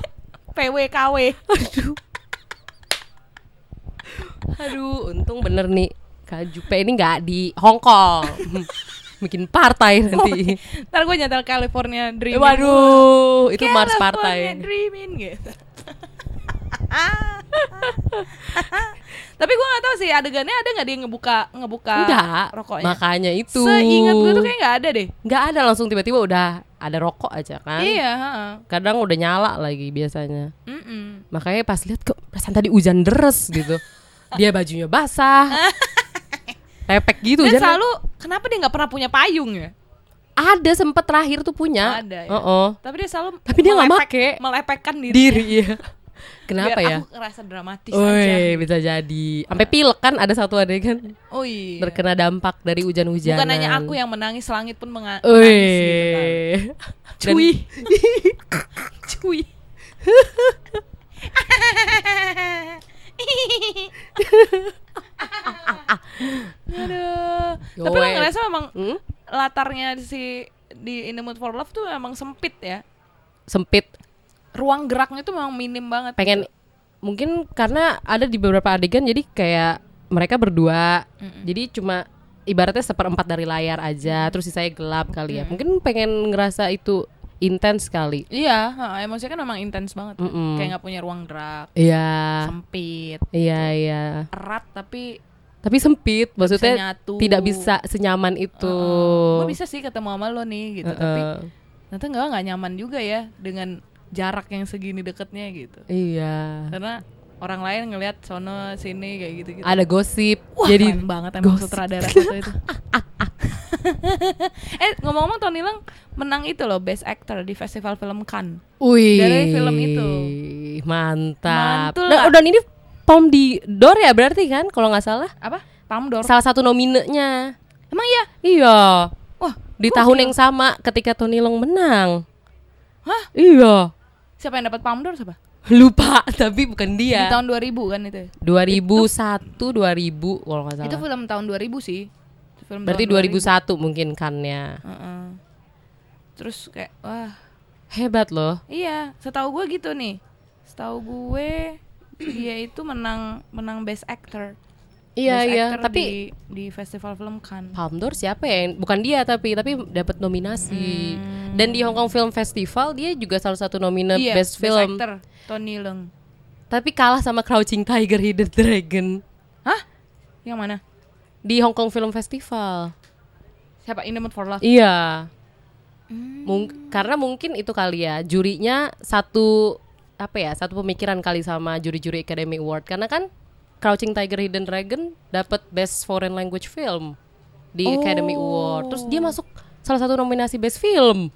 [laughs] PWKW.
Aduh, untung bener nih Kak Jupe ini nggak di Hong Kong. [laughs] Bikin partai nanti.
Ntar gue nyetel California Dreaming.
Waduh, itu mars
California
partai.
Dreaming gitu. [laughs] Tapi gue gak tahu sih adegannya ada gak dia ngebuka ngebuka
Enggak,
rokoknya.
makanya itu.
Seingat gue tuh kayak gak ada deh.
nggak ada langsung tiba-tiba udah ada rokok aja kan.
Iya. ha-ha.
Kadang udah nyala lagi biasanya.
Mm-mm.
Makanya pas lihat kok perasaan tadi hujan deres gitu. Dia bajunya
[laughs]
basah. Lepek gitu
Dan
hujan.
selalu kenapa dia nggak pernah punya payung ya?
ada sempet terakhir tuh punya.
Ada, ya.
Oh-oh.
Tapi dia selalu
Tapi dia nggak
melepek-
make.
melepekkan diri.
Diri ya. Kenapa
Biar
ya?
Aku ngerasa dramatis aja.
Woi, bisa jadi. Sampai pilek kan ada satu adegan
Oh iya.
terkena dampak dari hujan-hujan.
Bukan hanya aku yang menangis, langit pun
Woi.
menga-
[laughs]
menangis gitu kan.
Dan- [laughs]
Cui. Cui. Aduh. Tapi lo
Yowes.
ngerasa memang
Hmm?
latarnya si di In the Mood for Love tuh memang sempit ya.
Sempit.
Ruang geraknya tuh memang minim banget.
Pengen mungkin karena ada di beberapa adegan jadi kayak mereka berdua. Jadi cuma ibaratnya seperempat dari layar aja, terus sisanya gelap kali ya. Mungkin pengen ngerasa itu intens kali.
Iya, ha, emosinya kan memang intens banget.
Mm-mm.
Kayak nggak punya ruang gerak,
Iya.
sempit,
Iya, iya.
erat tapi
Tapi sempit, maksudnya
nyatu.
tidak bisa senyaman itu.
gue bisa sih ketemu sama lo nih gitu, tapi
Heeh.
ternyata nggak nggak nyaman juga ya dengan jarak yang segini deketnya gitu.
Iya.
Karena orang lain ngelihat sono sini kayak gitu gitu.
Ada gosip.
Wah,
Jadi
keren banget emang
gosip.
sutradara satu itu. eh ngomong-ngomong Tony Leung menang itu loh Best Actor di Festival Film Cannes.
Wih.
Dari film itu.
Mantap.
Mantul
Nah,
lah.
udah ini Pom di Dor ya berarti kan kalau nggak salah.
Apa? Pamdor.
Salah satu nominenya.
Emang iya?
Iya.
Wah,
Di
gokil.
tahun yang sama ketika Tony Long menang.
Hah?
Iya.
Siapa yang dapat Pamdor siapa?
Lupa, [laughs] tapi bukan
Di
dia.
tahun 2000 kan itu. ya?
2001 2000 kalau nggak
Itu
salah.
film tahun 2000 sih. Film
Berarti
tahun
2001 mungkin kan ya. kannya.
Heeh. Terus kayak wah,
Hebat loh.
iya, setahu gue gitu nih. Setahu gue dia itu menang menang best actor.
Iya,
Best
iya,
actor
tapi
di, di festival film kan. Cannes.
Palm d'Or siapa ya? Bukan dia tapi tapi dapat nominasi. Dan di Hong Kong Film Festival dia juga salah satu nomina
Hmm. Iya,
best film.
actor Tony Leung.
Tapi kalah sama Crouching Tiger Hidden Dragon
Hah? Yang mana?
di Hong Kong Film Festival.
Siapa In the Mood for Love?
Iya.
Hmm.
Mung- karena mungkin itu kali ya jurinya satu apa ya satu pemikiran kali sama juri-juri Academy Award karena kan Crouching Tiger Hidden Dragon dapat Best Foreign Language Film di Academy Award terus dia masuk salah satu nominasi Best Film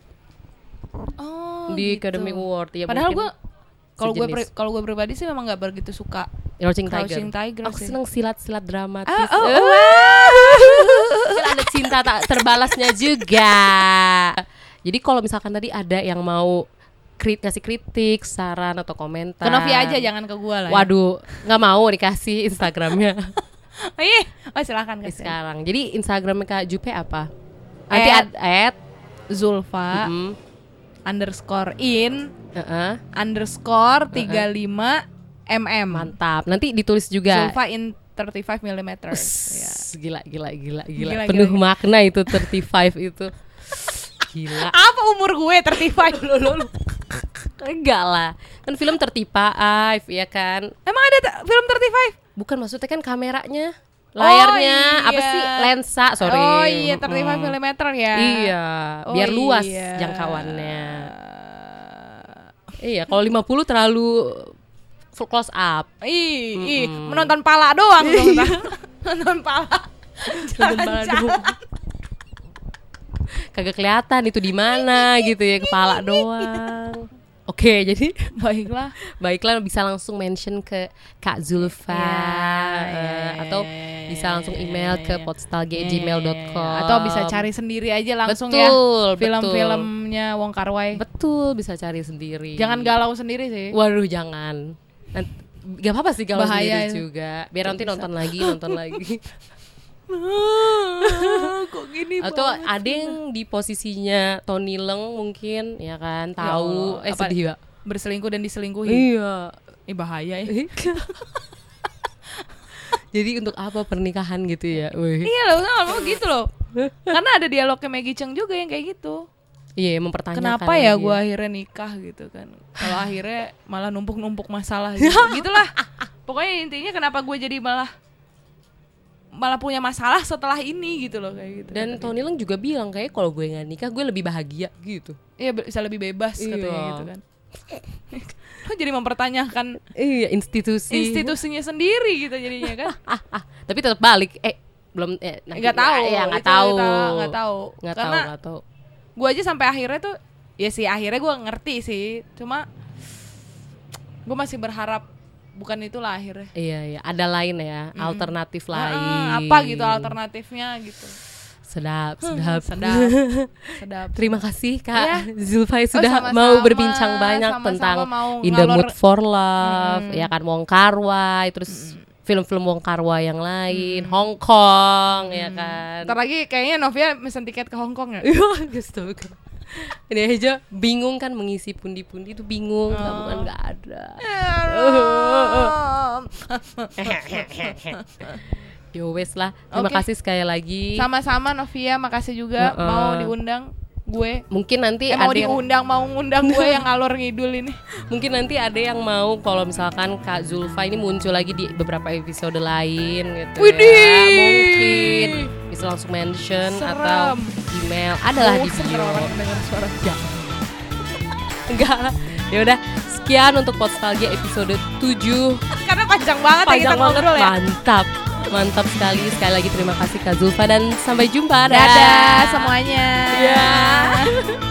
Oh,
di
gitu.
Academy Award ya
Padahal gue
mungkin
kalau gue
sejenis.
pri- kalau gue pribadi sih memang nggak begitu suka
Crouching Tiger.
Crouching Tiger
Aku [laughs]
sih. oh,
seneng silat-silat dramatis.
Ah, oh,
Eh,
wow.
[laughs] kan ada cinta tak terbalasnya juga. Jadi kalau misalkan tadi ada yang mau krit ngasih kritik, saran atau komentar.
Ke Novi aja jangan ke gua lah. ya.
Waduh, nggak mau dikasih Instagramnya [laughs]
Oh, iya. oh silakan
Eh,
kasih.
sekarang. Jadi Instagramnya Kak Jupe apa? Nanti
At.
at, at
Zulfa
mm,
underscore in
uh-uh,
underscore 35 mm.
mantap. Nanti ditulis juga.
Zulfa in 35 mm. Ya.
Uss, Gila, gila, gila, gila.
Gila,
Penuh
gila,
makna itu 35 itu. Gila.
Apa umur gue 35?
Enggak lah. Kan film 35, ya kan?
Emang ada t- film 35?
Bukan maksudnya kan kameranya,
Oh,
layarnya, apa
iya.
sih? Lensa, sorry.
Oh iya 35
Mm-mm.
mm ya.
Iya,
Oh,
biar luas
iya.
jangkauannya. Iya, kalau 50 terlalu full close up.
Eh, Ih, ih, menonton pala doang
Iya.
dong. Bang. [laughs] menonton pala.
Jalan-jalan. Kagak kelihatan itu di mana gitu ya, kepala doang. Oke, jadi
[laughs] Baiklah.
Baiklah bisa langsung mention ke Kak Zulfa
Ya, ya,
eh,
ya,
atau
ya, ya,
bisa
ya,
langsung
ya,
email
ya,
ke
ya.
podstalgia@gmail.com
Atau bisa cari sendiri aja
Iya.
langsung
Betul,
ya
betul.
film-filmnya Wong Kar Wai.
betul bisa cari sendiri.
Jangan galau sendiri sih.
Waduh jangan. Nanti, gak apa-apa sih kalau sendiri
Bahaya itu.
juga. Biar nanti nonton lagi,
[laughs]
nonton lagi.
Kok gini
Atau ada yang di posisinya Tony Leng mungkin ya kan tahu
Allah,
eh
apa-
sedih
[laughs]
ya.
berselingkuh dan diselingkuhi.
Iya.
Ini bahaya ya.
Jadi untuk apa pernikahan gitu ya? Wih.
Iya loh, kenapa mau gitu loh. Karena ada dialognya Maggie Cheung juga yang kayak gitu.
Iya, mempertanyakan.
Kenapa ya
lagi.
gue akhirnya nikah gitu kan? Kalau akhirnya malah numpuk-numpuk
[laughs]
masalah gitu. gitulah. Pokoknya intinya kenapa gue jadi malah malah punya masalah setelah ini gitu loh kayak gitu.
Dan Tony Leng juga bilang kayak kalau gue nggak nikah gue lebih bahagia gitu.
iya be- bisa lebih bebas katanya
Iya.
gitu kan. [laughs] Lo jadi mempertanyakan
Iya institusi.
institusinya sendiri gitu jadinya kan.
Ah, ah. Tapi tetap balik. Eh belum. Eh, nanti-
Nggak tahu.
Ya nggak
itu
tahu.
Nggak tahu.
Nggak tahu.
Karena
nggak tahu.
gue aja sampai akhirnya tuh ya sih akhirnya gue ngerti sih cuma gue masih berharap bukan itulah akhirnya
Iya iya. Ada lain ya. Alternatif lain.
Ah, apa gitu alternatifnya gitu
Sedap sedap
[laughs] sedap sedap
Terima kasih Kak
Iya.
Zulfai
Oh,
sudah
sama-sama,
mau berbincang banyak
sama-sama
tentang
mau
In the
ngalor-
Mood for Love, ya kan Wong Kar Wai, terus film-film Wong Kar Wai yang lain,
Mm.
Hong Kong, ya kan.
ntar lagi kayaknya Novia mesen tiket ke Hong Kong ya
[laughs] Iya, astaga. Ini aja bingung kan mengisi pundi-pundi itu bingung, nggak bukan
Oh.
nggak ada. Yo wes lah. Terima
Oke.
kasih sekali lagi.
sama-sama Novia makasih juga
Heeh.
mau diundang gue
Mungkin nanti
eh,
ada
mau
yang,
diundang mau ngundang gue yang ngalor ngidul ini
mungkin nanti ada yang mau kalau misalkan Kak Zulfa ini muncul lagi di beberapa episode lain gitu ya.
Widih.
Mungkin bisa langsung mention atau
Serem. Oh,
email. Adalah di
Bosen
video.
orang dengar suara [laughs]
Enggak lah. Ya udah, sekian untuk Postalgia episode 7.
karena panjang banget ya kita
panjang banget
ngobrol ya
mantap mantap sekali sekali lagi terima kasih Kak Zulfa dan sampai jumpa
Dadah semuanya.
Iya.